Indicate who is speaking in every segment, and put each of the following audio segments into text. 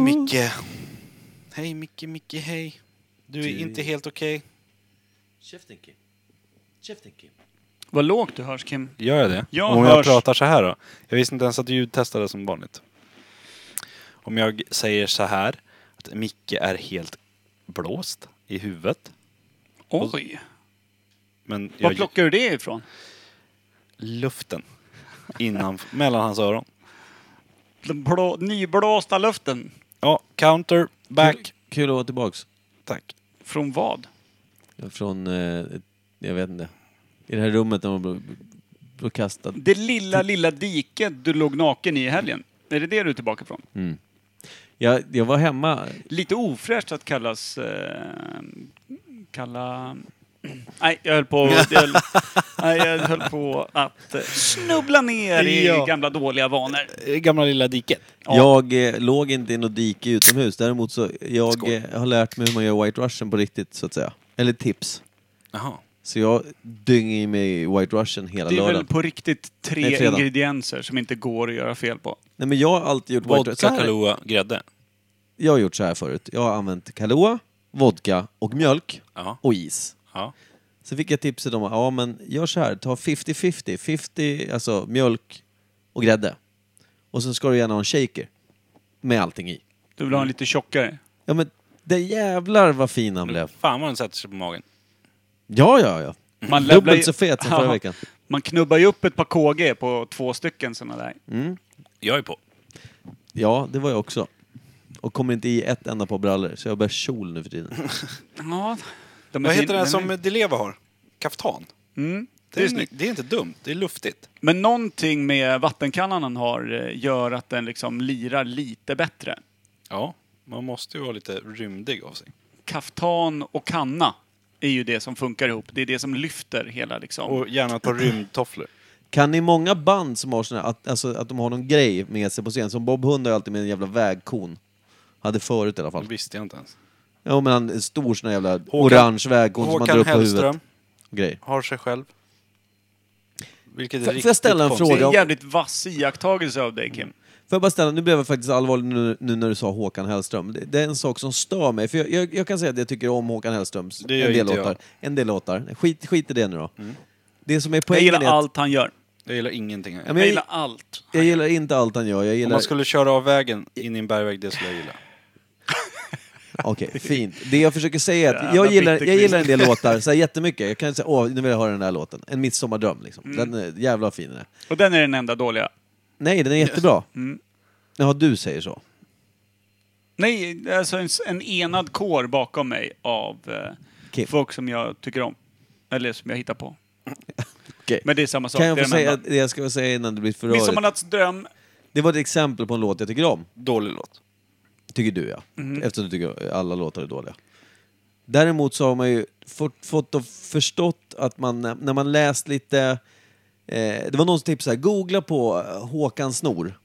Speaker 1: Micke. Hej Micke, Micke, hej. Du är
Speaker 2: Du-
Speaker 1: inte helt okej.
Speaker 2: Käften Kim. Käften Kim.
Speaker 3: Vad lågt du hörs Kim.
Speaker 1: Gör jag det?
Speaker 3: Jag
Speaker 1: Om jag
Speaker 3: hörs.
Speaker 1: pratar så här då? Jag visste inte ens att ljud testades som vanligt. Om jag säger så här, att Micke är helt blåst i huvudet.
Speaker 3: Oj,
Speaker 1: Men
Speaker 3: var
Speaker 1: jag,
Speaker 3: plockar du det ifrån?
Speaker 1: luften innan, mellan hans öron.
Speaker 3: Den blå, nyblåsta luften.
Speaker 1: Ja, counter,
Speaker 2: Kul,
Speaker 1: back.
Speaker 2: kul att vara tillbaks.
Speaker 1: Tack.
Speaker 3: Från vad?
Speaker 2: Från, eh, ett- jag vet inte. I det här rummet när man blev, blev kastad.
Speaker 3: Det lilla, lilla diket du låg naken i i helgen. Är det det du är tillbaka från?
Speaker 2: Jag, jag var hemma.
Speaker 3: Lite ofräscht att kallas... Eh, kalla... Nej, jag höll på, jag höll, nej, jag höll på att eh, snubbla ner i
Speaker 1: Ja.
Speaker 3: gamla dåliga vanor.
Speaker 1: Eh, Gamla lilla diket.
Speaker 3: Ja.
Speaker 2: Jag eh, låg inte i något dike utomhus. Däremot så jag
Speaker 1: Skoj.
Speaker 2: eh, har lärt mig hur man gör White Russian på riktigt så att säga. Eller tips.
Speaker 1: Jaha.
Speaker 2: Så jag dynger i mig White Russian hela
Speaker 3: Det är
Speaker 2: lördagen.
Speaker 3: väl på riktigt tre
Speaker 2: Nej, fredag.
Speaker 3: ingredienser som inte går att göra fel på.
Speaker 2: Nej men jag har alltid gjort White
Speaker 1: Vodka,
Speaker 2: Russian. Så här-
Speaker 1: Kahlua, grädde.
Speaker 2: Jag har gjort så här förut. Jag har använt Kahlua, vodka och mjölk
Speaker 1: Ja.
Speaker 2: och is.
Speaker 1: ja.
Speaker 2: Så fick jag tipset om att ja, men gör så här, ta 50-50. 50 alltså mjölk och grädde. Och så ska du gärna ha en shaker med allting i.
Speaker 3: Du vill ha en lite tjockare?
Speaker 2: Ja men det jävlar vad fin
Speaker 3: Mm.
Speaker 2: han blev.
Speaker 1: Fan vad den sätter sig på magen.
Speaker 2: Ja, ja, ja.
Speaker 3: Man läbblar ju-
Speaker 2: Mm. Dubbelt så fet som förra
Speaker 3: Ja.
Speaker 2: veckan.
Speaker 3: Man knubbar ju upp ett par KG på två stycken sådana där.
Speaker 2: Mm.
Speaker 1: Jag är på.
Speaker 2: Ja, det var jag också. Och kommer inte i ett enda par brallor, så jag bär kjol nu för tiden.
Speaker 3: Ja. De är
Speaker 1: Vad
Speaker 3: fin-
Speaker 1: heter den
Speaker 3: är-
Speaker 1: som Dileva har? Kaftan.
Speaker 3: Mm.
Speaker 1: Det är, snyggt. det är inte dumt, det är luftigt.
Speaker 3: Men någonting med vattenkannan han har eh, gör att den liksom lirar lite bättre.
Speaker 1: Ja, man måste ju vara lite rymdig av sig.
Speaker 3: Kaftan och kanna är ju det som funkar ihop. Det är det som lyfter hela liksom.
Speaker 1: Och gärna på rymdtofflor.
Speaker 2: Kan ni många band som har såna här, att, alltså, att de har någon grej med sig på scen? Som Bob Hund har ju alltid med en jävla vägkon. Hade förut i alla
Speaker 1: Det
Speaker 2: fall.
Speaker 1: visste jag inte ens.
Speaker 2: Ja men han, en stor sån här jävla orange vägkon som man drar
Speaker 1: Håkan
Speaker 2: upp på huvudet.
Speaker 1: Hellström
Speaker 2: och Grejer.
Speaker 1: har sig själv. Vilket är
Speaker 2: Får- får jag
Speaker 1: riktigt
Speaker 2: ställa en
Speaker 1: konstigt.
Speaker 3: det är
Speaker 2: fråga?
Speaker 3: en jävligt vass iakttagelse av dig Kim.
Speaker 2: Får jag bara ställa, nu blev jag faktiskt allvarlig nu, nu när du sa Håkan Hellström. Det, det är en sak som stör mig, för jag, jag, jag kan säga att jag tycker om Håkan Hellströms
Speaker 1: Det gör
Speaker 2: en del
Speaker 1: inte jag. Mm.
Speaker 2: låtar. En del låtar. Skit, skit i det nu då. Det som är
Speaker 3: Jag
Speaker 2: poängen
Speaker 3: gillar
Speaker 2: är att,
Speaker 3: allt han gör.
Speaker 1: Jag gillar ingenting.
Speaker 2: Ja,
Speaker 1: Här.
Speaker 2: men
Speaker 3: Jag
Speaker 2: jag,
Speaker 3: gillar allt.
Speaker 2: jag gillar inte allt han gör, jag
Speaker 1: Om
Speaker 2: gillar...
Speaker 1: man skulle köra av vägen in i en bergväg, det skulle jag gilla.
Speaker 2: Okej, fint. Det jag försöker säga är att
Speaker 3: Jävla
Speaker 2: jag gillar, jag
Speaker 3: bitterkvist.
Speaker 2: gillar en del låtar så här jättemycket. Jag kan säga åh, nu vill jag höra den där låten. En midsommardram liksom.
Speaker 3: Mm.
Speaker 2: Den är jävla fin den är.
Speaker 3: Och den är den enda dåliga.
Speaker 2: Nej, den är jättebra.
Speaker 3: Mm.
Speaker 2: Jaha, du säger så.
Speaker 3: Nej, alltså en, en enad kår bakom mig av eh,
Speaker 2: Kim.
Speaker 3: folk som jag tycker om. Eller som jag hittar på.
Speaker 2: Okej.
Speaker 3: Men det är samma sak.
Speaker 2: Kan jag
Speaker 3: det är
Speaker 2: få
Speaker 3: den
Speaker 2: säga
Speaker 3: enda.
Speaker 2: det jag ska säga innan det blir för rörigt?
Speaker 3: Midsommarnattsdröm.
Speaker 2: Det var ett exempel på en låt jag tycker om.
Speaker 1: Dålig låt.
Speaker 2: Tycker du ja.
Speaker 3: Mm.
Speaker 2: Eftersom du tycker alla låtar är dåliga. Däremot så har man ju fått, fått och förstått att man, när man läst lite... Eh, det var någon som tipsade, googla på eh, Håkan Snor.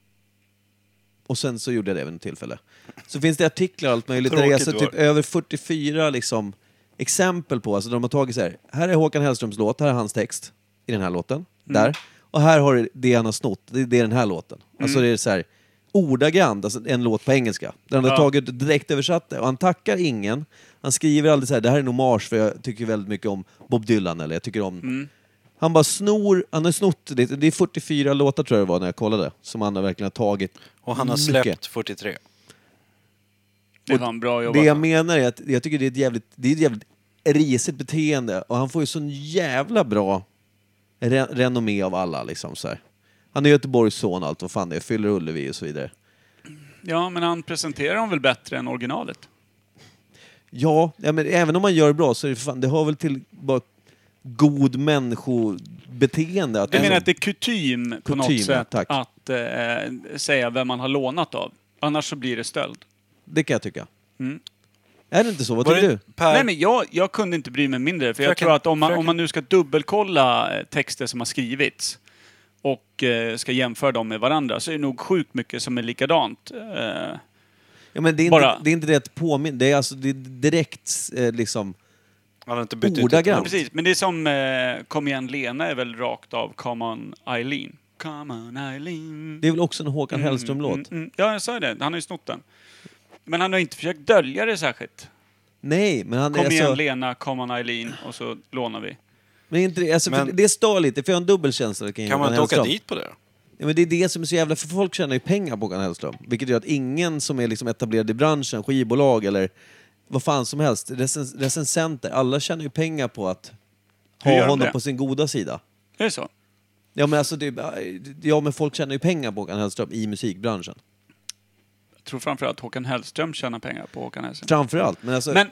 Speaker 2: Och sen så gjorde jag det vid något tillfälle. Så finns det artiklar och allt möjligt. Där det är
Speaker 1: Tråkigt
Speaker 2: alltså
Speaker 1: du har.
Speaker 2: typ över 44 liksom, exempel på, alltså de har tagit så här, här är Håkan Hellströms låt, här är hans text i den här låten, där. Och här har du det han har snott, det det är den här låten. Alltså det är så här, ordagrant, alltså en låt på engelska. Där han har
Speaker 3: Ja.
Speaker 2: tagit och direkt översatt det. Och han tackar ingen, han skriver aldrig så här, det här är en hommage för jag tycker väldigt mycket om Bob Dylan eller jag tycker om Han bara snor, han har snott, det, det är 44 låtar tror jag det var när jag kollade, som han har verkligen har tagit.
Speaker 1: Och han har
Speaker 2: mycket.
Speaker 1: släppt 43.
Speaker 3: Det var en bra
Speaker 2: Det
Speaker 3: jobbat.
Speaker 2: jag menar är att jag tycker det är ett jävligt, det är ett jävligt risigt beteende och han får ju sån jävla bra re renommé av alla liksom så här. Han är Göteborgs son och allt vad fan det är, fyller Ullevi och så vidare.
Speaker 3: Ja, men han presenterar dem väl bättre än originalet?
Speaker 2: Ja, ja men även om man gör det bra så är det för fan, det hör väl till bara god människobeteende. Att
Speaker 3: Du menar
Speaker 2: liksom-
Speaker 3: att det är kutym på
Speaker 2: Kutym,
Speaker 3: något
Speaker 2: ja,
Speaker 3: sätt
Speaker 2: tack.
Speaker 3: att eh, säga vem man har lånat av? Annars så blir det stöld.
Speaker 2: det kan jag tycka.
Speaker 3: Mm.
Speaker 2: Är det inte så? Vad
Speaker 1: Var
Speaker 2: tycker
Speaker 1: det
Speaker 2: du?
Speaker 1: Per...
Speaker 3: Nej, men jag, jag kunde inte bry mig mindre. För jag
Speaker 1: Fröken-
Speaker 3: tror att om man,
Speaker 1: fröken-
Speaker 3: om man nu ska dubbelkolla eh, texter som har skrivits och eh, ska jämföra dem med varandra så är det nog sjukt mycket som är likadant. Eh,
Speaker 2: Ja, men det, är
Speaker 3: bara-
Speaker 2: inte, det är inte det att påminna, det är alltså det är direkt eh, liksom...
Speaker 1: Han har inte bytt ut ett
Speaker 2: Ordagrant.
Speaker 1: ord.
Speaker 3: precis, men det är som eh, Kom igen Lena är väl rakt av Come on Eileen. Come on Eileen.
Speaker 2: Det är väl också en Håkan Hellström-låt?
Speaker 3: Mm, mm. Ja, jag sa ju det. Han har ju snott den. Men han har inte försökt dölja det särskilt.
Speaker 2: Nej, alltså- men han
Speaker 3: Kom
Speaker 2: är
Speaker 3: igen
Speaker 2: så...
Speaker 3: Lena, kom on Eileen och så lånar vi.
Speaker 2: Men inte, det- alltså, för
Speaker 1: Men-
Speaker 2: det stör lite, för jag har en dubbel känsla. Kan,
Speaker 1: Kan man inte åka dit på det då?
Speaker 2: Ja, men det är det som är så jävla... För folk tjänar ju pengar på Håkan Hellström. Vilket gör att ingen som är liksom etablerad i branschen, skivbolag eller vad fan som helst, recens- recensenter, alla tjänar ju pengar på att
Speaker 3: Hur gör
Speaker 2: ha
Speaker 3: de
Speaker 2: honom
Speaker 3: det?
Speaker 2: på sin goda sida.
Speaker 3: Är det så?
Speaker 2: Ja men, alltså, det, ja, men folk tjänar ju pengar på Håkan Hellström i musikbranschen.
Speaker 3: Jag tror framförallt Håkan Hellström tjänar pengar på Håkan Hellström.
Speaker 2: Framförallt. Men, alltså,
Speaker 3: Men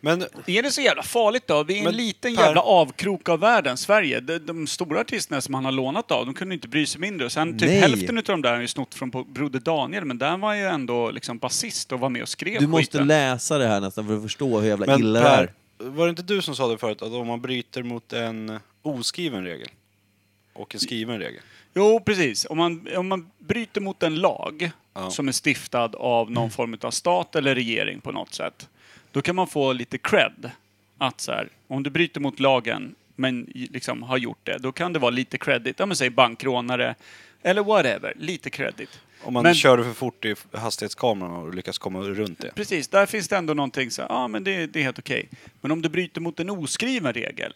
Speaker 1: Men
Speaker 3: är det så jävla farligt då? Vi är en
Speaker 1: Men
Speaker 3: liten
Speaker 1: Per-
Speaker 3: jävla avkrok av världen, Sverige. De, de stora artisterna som han har lånat av, de kunde inte bry sig mindre. Och sen typ
Speaker 2: Nej.
Speaker 3: hälften av de där har ju snott från Broder Daniel, men där var ju ändå liksom basist och var med och skrev
Speaker 2: du måste
Speaker 3: skiten.
Speaker 2: läsa det här nästan för att förstå hur jävla
Speaker 1: Men
Speaker 2: illa det
Speaker 1: Per,
Speaker 2: är.
Speaker 1: var det inte du som sa det förut att om man bryter mot en oskriven regel och en skriven regel?
Speaker 3: Jo, precis. Om man, om man bryter mot en lag
Speaker 1: Ja. Mm.
Speaker 3: som är stiftad av någon form av stat eller regering på något sätt, då kan man få lite cred. Att så här, om du bryter mot lagen, men i- liksom har gjort det, då kan det vara lite credit. Ja, men säg bankrånare, eller whatever. Lite credit.
Speaker 1: Om man
Speaker 3: Men-
Speaker 1: kör för fort i hastighetskameran och lyckas komma runt det.
Speaker 3: Precis, där finns det ändå någonting så här, ja men det, det är helt okej. Men om du bryter mot en oskriven regel,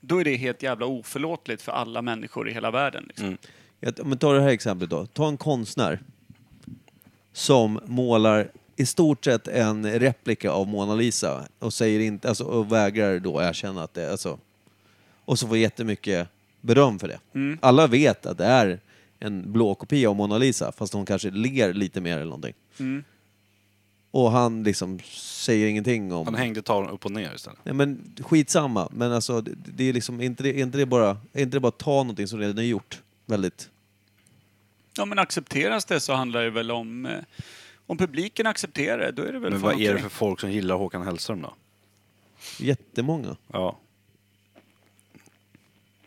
Speaker 3: då är det helt jävla oförlåtligt för alla människor i hela världen.
Speaker 1: Mm.
Speaker 3: Liksom.
Speaker 2: Jag, om vi tar det här exemplet då. Ta en konstnär som målar i stort sett en replika av Mona Lisa och, säger inte, alltså, och vägrar då erkänna att det är alltså, Och så får jättemycket beröm för det. Alla vet att det är en blå kopia av Mona Lisa fast hon kanske ler lite mer eller någonting. Och han liksom säger ingenting om...
Speaker 1: Han hängde tavlan upp och ner istället.
Speaker 2: Nej, men skitsamma, men alltså, det, det är liksom, är inte det, är inte det bara, är inte det bara att ta någonting som redan är gjort? Väldigt.
Speaker 3: Ja, men accepteras det så handlar det väl om... eh, Om publiken accepterar det, då är det väl
Speaker 1: Men
Speaker 3: fan
Speaker 1: vad är det
Speaker 3: okej.
Speaker 1: för folk som gillar Håkan Hellström då?
Speaker 2: Jättemånga.
Speaker 1: Ja.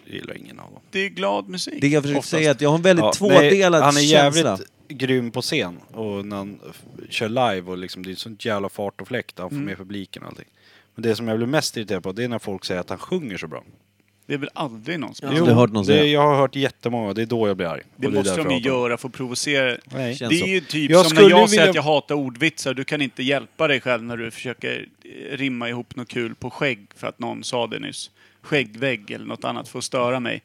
Speaker 1: Jag gillar ingen av dem.
Speaker 3: Det är glad musik.
Speaker 2: Det jag försöker
Speaker 3: oftast.
Speaker 2: säga är att jag har en väldigt
Speaker 1: Ja,
Speaker 2: tvådelad
Speaker 1: nej, Han är jävligt
Speaker 2: känsla.
Speaker 1: grym på scen och när han f- kör live och liksom, det är sånt jävla fart och fläkt. Han får med publiken och allting. Men det som jag blir mest irriterad på det är när folk säger att han sjunger så bra.
Speaker 3: Det är väl aldrig någon som...
Speaker 2: Jo, aldrig hört någon
Speaker 1: det,
Speaker 2: säga.
Speaker 1: jag har hört jättemånga, det är då jag blir arg.
Speaker 3: Det
Speaker 1: Och är
Speaker 3: måste
Speaker 1: därför
Speaker 3: de
Speaker 1: jag
Speaker 3: ju
Speaker 1: hatar honom.
Speaker 3: göra för att provocera.
Speaker 1: Nej.
Speaker 2: Känns
Speaker 3: Det
Speaker 2: så.
Speaker 3: är ju typ
Speaker 1: Jag
Speaker 3: som när
Speaker 1: skulle
Speaker 3: jag
Speaker 1: ju
Speaker 3: säger
Speaker 1: vilja-
Speaker 3: att jag hatar ordvitsar. Du kan inte hjälpa dig själv när du försöker eh, rimma ihop något kul på skägg för att någon sa det nyss. Skäggvägg eller något annat för att störa mig.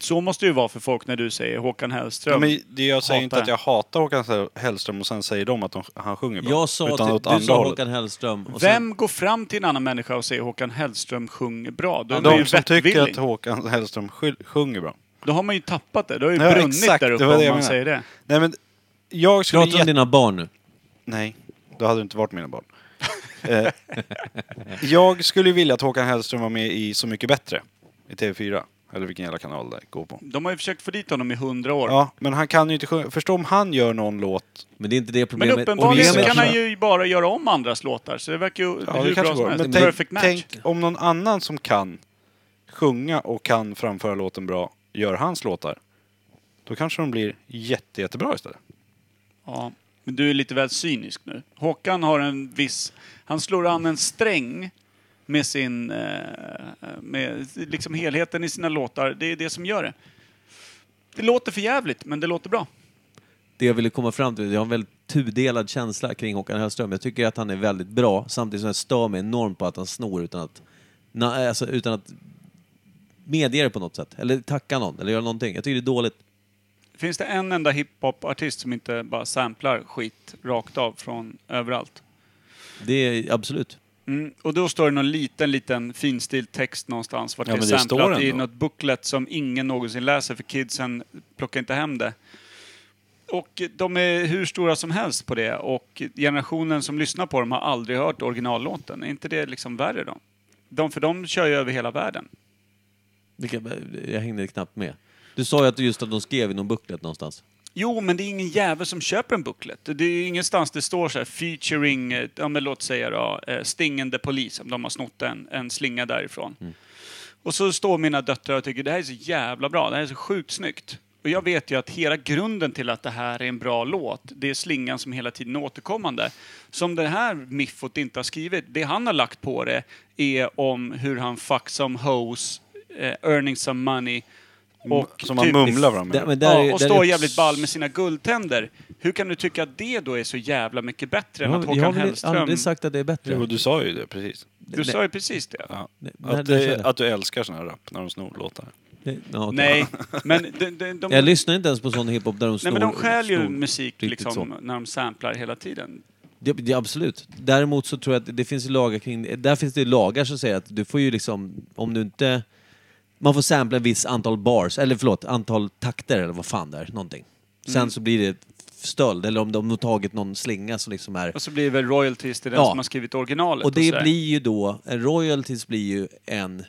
Speaker 3: Så måste det ju vara för folk när du säger Håkan
Speaker 1: Ja,
Speaker 3: Hellström.
Speaker 1: men det jag säger
Speaker 3: Hatar.
Speaker 1: inte att jag hatar Håkan Hellström och sen säger de att de, han sjunger bra.
Speaker 2: Jag sa
Speaker 1: Utan
Speaker 2: till,
Speaker 1: åt
Speaker 2: du
Speaker 1: andra
Speaker 2: sa
Speaker 1: hållet.
Speaker 2: Håkan Hellström. Och sen,
Speaker 3: Vem går fram till en annan människa och säger Håkan Hellström sjunger bra? Då är man ju
Speaker 1: De som tycker
Speaker 3: vettvilling.
Speaker 1: att Håkan Hellström skyl- sjunger bra.
Speaker 3: Då har man ju tappat det. Då har ju
Speaker 1: Ja,
Speaker 3: brunnit
Speaker 1: exakt,
Speaker 3: där
Speaker 1: det
Speaker 3: uppe
Speaker 1: var det
Speaker 3: om
Speaker 1: jag
Speaker 3: man
Speaker 1: menar.
Speaker 3: säger det.
Speaker 1: Nej men, jag skulle
Speaker 2: pratar om
Speaker 1: jätte...
Speaker 2: dina barn nu.
Speaker 1: Nej, då hade det inte varit mina barn. Eh, jag skulle vilja att Håkan Hellström var med i Så mycket bättre. I TV4. Eller vilken jävla kanal det går på.
Speaker 3: De har ju försökt få dit honom i hundra år.
Speaker 1: Ja, men han kan ju inte sjunga. Förstå om han gör någon låt.
Speaker 2: Men det är inte det
Speaker 3: Men
Speaker 2: problemet.
Speaker 3: uppenbarligen så
Speaker 2: Problemet-
Speaker 3: kan han ju bara göra om andras låtar, så det verkar ju
Speaker 1: Ja,
Speaker 3: hur
Speaker 1: det
Speaker 3: bra
Speaker 1: kanske
Speaker 3: som
Speaker 1: går.
Speaker 3: helst.
Speaker 1: Men
Speaker 3: Perfect
Speaker 1: tänk,
Speaker 3: match.
Speaker 1: tänk om någon annan som kan sjunga och kan framföra låten bra, gör hans låtar. Då kanske de blir jätte, jättebra istället.
Speaker 3: Ja. Men du är lite väl cynisk nu. Håkan har en viss... Han slår an en sträng med sin... eh, Med liksom helheten i sina låtar. Det är det som gör det. Det låter för jävligt, men det låter bra.
Speaker 2: det jag ville komma fram till, jag har en väldigt tudelad känsla kring Håkan Hellström. Jag tycker att han är väldigt bra, samtidigt som jag stör mig enormt på att han snor utan att, na, alltså, utan att medge det på något sätt. Eller tacka någon, eller göra någonting. Jag tycker det är dåligt.
Speaker 3: Finns det en enda hiphop-artist som inte bara samplar skit rakt av från överallt?
Speaker 2: Det är absolut.
Speaker 3: Mm, och då står det någon liten, liten finstilt text någonstans vart
Speaker 1: Ja,
Speaker 3: det är
Speaker 1: men det
Speaker 3: samplat
Speaker 1: står
Speaker 3: i
Speaker 1: ändå.
Speaker 3: något booklet som ingen någonsin läser för kidsen plockar inte hem det. Och de är hur stora som helst på det och generationen som lyssnar på dem har aldrig hört originallåten. Är inte det liksom värre då? De, för de kör ju över hela världen.
Speaker 2: Vilka- Jag hängde knappt med. Du sa ju att just att de skrev i någon booklet någonstans.
Speaker 3: Jo, men det är ingen jävel som köper en booklet. Det är ju ingenstans det står så här featuring, eh, ja men låt säga då, eh, Stingende Polis, om de har snott en, en slinga därifrån. Och så står mina döttrar och tycker det här är så jävla bra, det här är så sjukt snyggt. Och jag vet ju att hela grunden till att det här är en bra låt, det är slingan som hela tiden är återkommande. Som det här miffot inte har skrivit, det han har lagt på det är om hur han fuck some hoes, eh, earning some money och typ
Speaker 1: Som man mumlar fram.
Speaker 2: Där, men där
Speaker 3: ja,
Speaker 2: är-
Speaker 3: och
Speaker 2: där
Speaker 3: står
Speaker 2: är-
Speaker 3: jävligt ball med sina guldtänder. Hur kan du tycka att det då är så jävla mycket bättre än att
Speaker 2: jag, jag har
Speaker 3: Håkan
Speaker 2: väl
Speaker 3: Hellström...
Speaker 2: aldrig sagt att det är bättre.
Speaker 1: Jo, du sa ju det precis.
Speaker 3: Du sa ju precis det.
Speaker 1: Ja.
Speaker 2: Nej, nej,
Speaker 1: Att,
Speaker 2: det
Speaker 1: det-
Speaker 2: sa jag.
Speaker 1: att du älskar såna här rap när de snor låtar.
Speaker 2: Nej, ja, okej.
Speaker 3: Nej, men de, de, de,
Speaker 2: Jag lyssnar inte ens på sån hiphop där de snor.
Speaker 3: nej, men de stjäl ju
Speaker 2: snor-
Speaker 3: musik
Speaker 2: riktigt så.
Speaker 3: liksom, när de samplar hela tiden.
Speaker 2: Ja, ja, absolut. Däremot så tror jag att det finns lagar kring... Där finns det lagar som säger att du får ju liksom, om du inte... Man får sampla ett visst antal bars, eller förlåt, antal takter eller vad fan det är, någonting. Sen
Speaker 3: Mm.
Speaker 2: så blir det stöld, eller om de har tagit någon slinga som liksom är...
Speaker 3: Och så blir det väl royalties till den
Speaker 2: Ja.
Speaker 3: som har skrivit originalet.
Speaker 2: Och det
Speaker 3: sådär.
Speaker 2: blir ju då, en royalties blir ju en...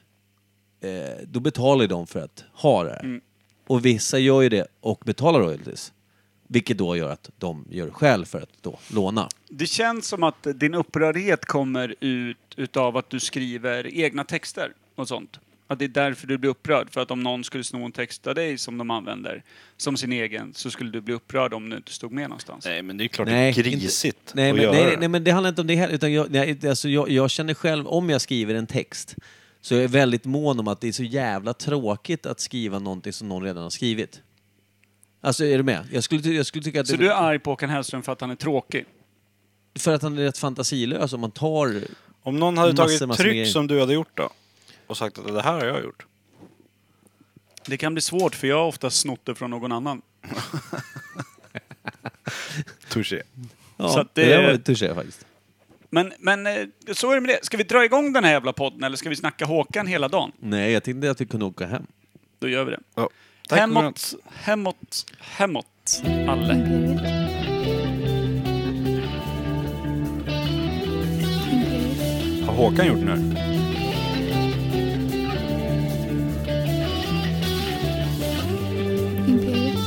Speaker 2: Eh, då betalar ju de för att ha det här.
Speaker 1: Mm.
Speaker 2: Och vissa gör ju det och betalar royalties. Vilket då gör att de gör skäl för att då låna.
Speaker 3: Det känns som att din upprördhet kommer ut utav att du skriver egna texter och sånt. Att det är därför du blir upprörd. För att om någon skulle sno en text av dig som de använder som sin egen så skulle du bli upprörd om du inte stod med någonstans.
Speaker 1: Nej, men det är klart
Speaker 2: Nej,
Speaker 1: det är grisigt
Speaker 2: inte- nej,
Speaker 1: att
Speaker 2: men,
Speaker 1: göra
Speaker 2: nej,
Speaker 1: det.
Speaker 2: nej, men det handlar inte om det heller. Utan jag, nej, alltså jag, jag känner själv, om jag skriver en text, så är jag väldigt mån om att det är så jävla tråkigt att skriva någonting som någon redan har skrivit. Alltså, är du med? Jag skulle, ty- jag skulle tycka att...
Speaker 3: Så
Speaker 2: det,
Speaker 3: du är arg på Håkan Hellström för att han är tråkig?
Speaker 2: För att han är rätt fantasilös om man tar...
Speaker 1: Om någon hade
Speaker 2: Massor,
Speaker 1: tagit
Speaker 2: massor med
Speaker 1: tryck
Speaker 2: grejer.
Speaker 1: som du hade gjort då och sagt att det här har jag gjort.
Speaker 3: Det kan bli svårt för jag har ofta snott det från någon annan.
Speaker 1: Touché.
Speaker 2: Ja,
Speaker 3: Så att
Speaker 2: det...
Speaker 3: det-
Speaker 2: där var ju touché faktiskt.
Speaker 3: Men, men eh, så är det med det. Ska vi dra igång den här jävla podden eller ska vi snacka Håkan hela dagen?
Speaker 2: Nej, jag tänkte att vi kunde åka hem.
Speaker 3: Då gör vi det.
Speaker 1: Ja. Tack och godnatt.
Speaker 3: Hemåt, hemåt, hemåt, alle.
Speaker 1: Har Håkan gjort den här?
Speaker 4: Imperiet.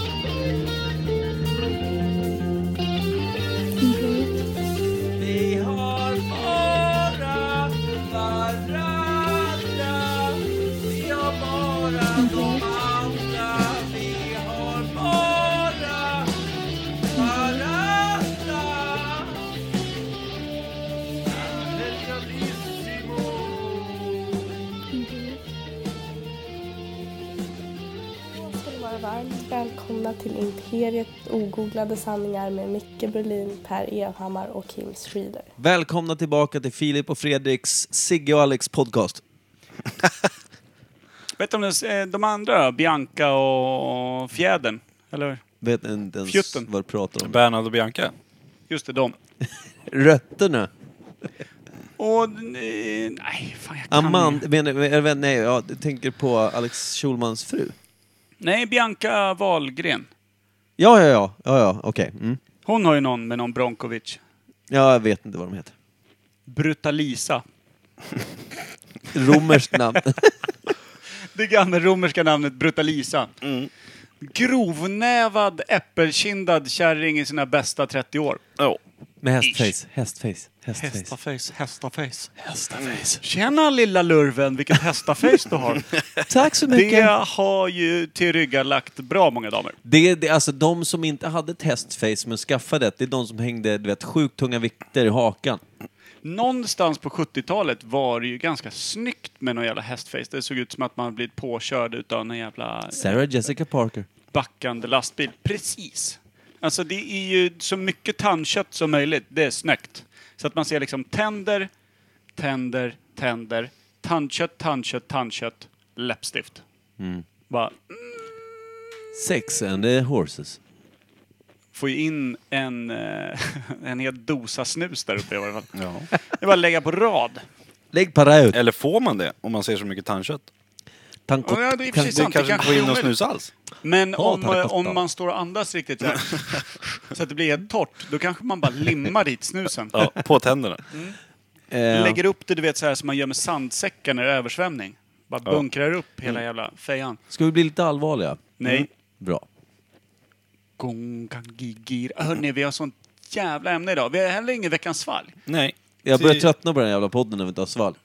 Speaker 4: Imperiet.
Speaker 2: Vi har bara varandra Vi har bara
Speaker 4: de
Speaker 2: andra Vi har bara varandra
Speaker 4: Imperiet.
Speaker 5: Då ska ni vara varmt välkomna till Imperiet ogooglade sanningar med Micke Berlin, Per Evhammar och Kim Schreeder.
Speaker 2: Välkomna tillbaka till Filip och Fredriks Sigge och Alex podcast.
Speaker 3: Vet du om det, eh, de andra, Bianca och Fjädern? Eller?
Speaker 2: Vet inte ens
Speaker 3: Fjutten.
Speaker 2: vad du pratar om.
Speaker 1: Bernhard och Bianca?
Speaker 3: Just det, de.
Speaker 2: Rötterna.
Speaker 3: Och... eh, Nej, fan jag kan
Speaker 2: Amanda, men, men, men, nej, jag tänker på Alex Schulmans fru.
Speaker 3: Nej, Bianca Wahlgren.
Speaker 2: Ja, ja, ja, ja, ja okej. Mm.
Speaker 3: Hon har ju någon med någon Bronkovic.
Speaker 2: Ja, jag vet inte vad de heter.
Speaker 3: Brutalisa.
Speaker 2: Romerskt namn.
Speaker 3: Det gamla romerska namnet Brutalisa. Grovnävad, äppelkindad kärring i sina bästa 30 år.
Speaker 1: Ja.
Speaker 2: Med hästface, hästface, hästface.
Speaker 3: Hästaface, hästaface.
Speaker 2: Hästaface.
Speaker 3: Tjena lilla lurven, vilket hästaface du har.
Speaker 2: Tack så
Speaker 3: Det
Speaker 2: mycket.
Speaker 3: har ju tillryggalagt bra många damer.
Speaker 2: Det, det, alltså de som inte hade ett hästface men skaffade det, det är de som hängde du vet, sjukt tunga vikter i hakan.
Speaker 3: Någonstans på 70-talet var det ju ganska snyggt med någon jävla hästface. Det såg ut som att man blivit påkörd utav en jävla
Speaker 2: Sarah Jessica Parker.
Speaker 3: backande lastbil. Precis. Alltså det är ju så mycket tandkött som möjligt. Det är snyggt. Så att man ser liksom tänder, tänder, tänder, tandkött, tandkött, tandkött, läppstift.
Speaker 1: Mm.
Speaker 3: Bara
Speaker 2: Sex and the horses.
Speaker 3: få in en, eh, en hel dosa snus där uppe i varje fall.
Speaker 1: ja.
Speaker 3: Det är bara att lägga på rad.
Speaker 2: Lägg para ut.
Speaker 1: Eller får man det om man ser så mycket tandkött?
Speaker 2: Tanko,
Speaker 3: Ja, det är i och för
Speaker 2: kan-
Speaker 3: sig
Speaker 1: Det
Speaker 3: sant.
Speaker 1: kanske inte
Speaker 3: kanske
Speaker 1: får in
Speaker 3: är
Speaker 1: någon
Speaker 3: omöjligt.
Speaker 1: snus alls?
Speaker 3: Men
Speaker 2: Ta
Speaker 3: om,
Speaker 2: terracotta.
Speaker 3: om man står och andas riktigt så här, så att det blir helt torrt, då kanske man bara limmar dit snusen.
Speaker 1: Ja, på tänderna.
Speaker 2: eh,
Speaker 3: Lägger upp det, du vet, så här som man gör med sandsäckar när det är översvämning. Bara bunkrar upp hela
Speaker 1: Mm.
Speaker 3: jävla fejan.
Speaker 2: Ska vi bli lite allvarliga? Mm.
Speaker 3: Nej.
Speaker 2: Bra.
Speaker 3: Gongangigir. Hörni, vi har sånt jävla ämne idag. Vi har heller ingen veckans svalg.
Speaker 1: Nej.
Speaker 2: Jag börjar
Speaker 1: Det-
Speaker 2: tröttna på den här jävla podden när vi inte har svalg.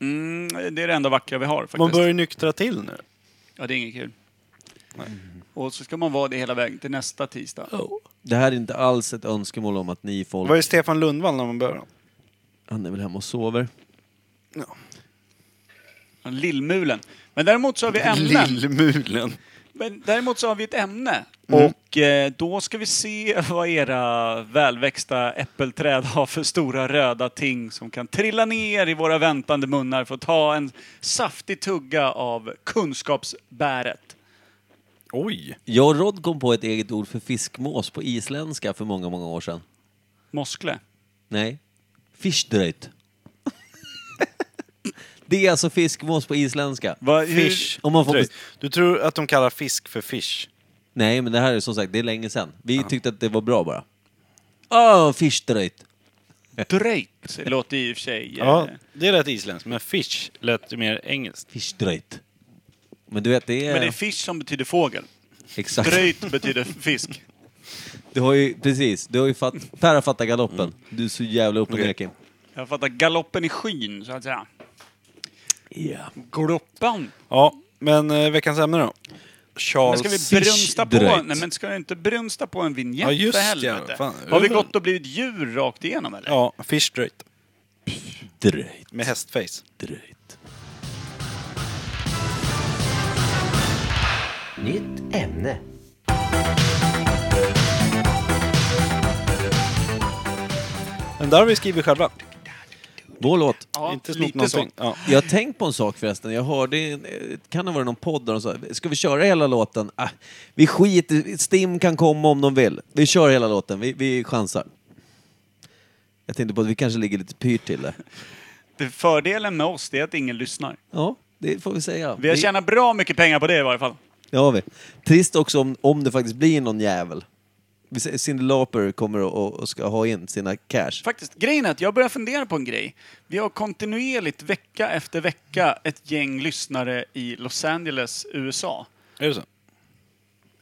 Speaker 3: Mm, det är det enda vackra vi har faktiskt.
Speaker 1: Man börjar ju nyktra till nu.
Speaker 3: Ja, det är inget kul. Och så ska man vara det hela vägen till nästa tisdag.
Speaker 2: Det här är inte alls ett önskemål om att ni folk...
Speaker 1: Var är Stefan Lundvall när man började?
Speaker 2: Han är väl hemma och sover.
Speaker 3: Lillmulen. Men däremot så har vi ämnen.
Speaker 1: Lillmulen.
Speaker 3: Men däremot så har vi ett ämne
Speaker 1: Mm.
Speaker 3: Och eh, då ska vi se vad era välväxta äppelträd har för stora röda ting som kan trilla ner i våra väntande munnar för att ta en saftig tugga av kunskapsbäret.
Speaker 1: Oj!
Speaker 2: Jag och Rod kom på ett eget ord för fiskmås på isländska för många, många år sedan.
Speaker 3: Moskle.
Speaker 2: Nej. Fischdröjt. det är alltså fiskmås på isländska.
Speaker 3: Vad- hur-
Speaker 1: Fish.
Speaker 2: Om man får-
Speaker 1: Dröj. Du tror att de kallar fisk för fish?
Speaker 2: Nej, men det här är som sagt, det är länge sedan. Vi tyckte att det var bra bara. Åh, fischdröjt.
Speaker 3: Dröjt låter ju i och för sig... eh,
Speaker 1: Ja, det lät isländskt, men fish lät ju mer engelskt.
Speaker 2: Fischdröjt. Men du vet, det är...
Speaker 3: Men det är fish som betyder fågel.
Speaker 2: Exakt.
Speaker 3: Dröjt betyder fisk.
Speaker 2: Du har ju, precis, du har ju fatt... Per har fattat galoppen. Du är så jävla upp och ner,
Speaker 1: Okej.
Speaker 2: Kim.
Speaker 3: Jag fattar galoppen i skyn, så att säga.
Speaker 2: Ja.
Speaker 3: Gloppan.
Speaker 1: Ja, men eh, veckans ämne då?
Speaker 3: Men
Speaker 1: Charles...
Speaker 3: ska vi
Speaker 2: Fish
Speaker 3: brunsta på...
Speaker 2: dröjt.
Speaker 3: Nej, men ska vi inte brunsta på en vinjett
Speaker 1: Ja, just
Speaker 3: för
Speaker 1: ja,
Speaker 3: helvete?
Speaker 1: fan.
Speaker 3: Har vi gått och blivit djur rakt igenom eller?
Speaker 1: Ja, fish straight.
Speaker 2: Dröjt.
Speaker 1: Med hästface.
Speaker 2: Dröjt.
Speaker 4: Nytt ämne.
Speaker 1: Den där har vi skrivit själva.
Speaker 2: Vår låt.
Speaker 3: Ja,
Speaker 1: Inte snott
Speaker 3: lite så.
Speaker 1: någonting. Ja.
Speaker 2: Jag har tänkt på en sak förresten. Jag hörde, i en- eh, kan det vara någon podd där de sa, ska vi köra hela låten? Ah, vi skiter Stim kan komma om de vill. Vi kör hela låten, vi, vi chansar. Jag tänkte på att vi kanske ligger lite pyrt till det.
Speaker 3: Det fördelen med oss det är att ingen lyssnar.
Speaker 2: Ja, det får vi säga.
Speaker 3: Vi har tjänat bra mycket pengar på det i varje fall.
Speaker 2: Det har vi. Trist också om, om det faktiskt blir någon jävel. Vi säger Cyndi Lauper kommer och- och, och ska ha in sina cash.
Speaker 3: Faktiskt, grejen är att jag börjar fundera på en grej. Vi har kontinuerligt vecka efter vecka ett gäng lyssnare i Los Angeles, USA.
Speaker 1: Är det så?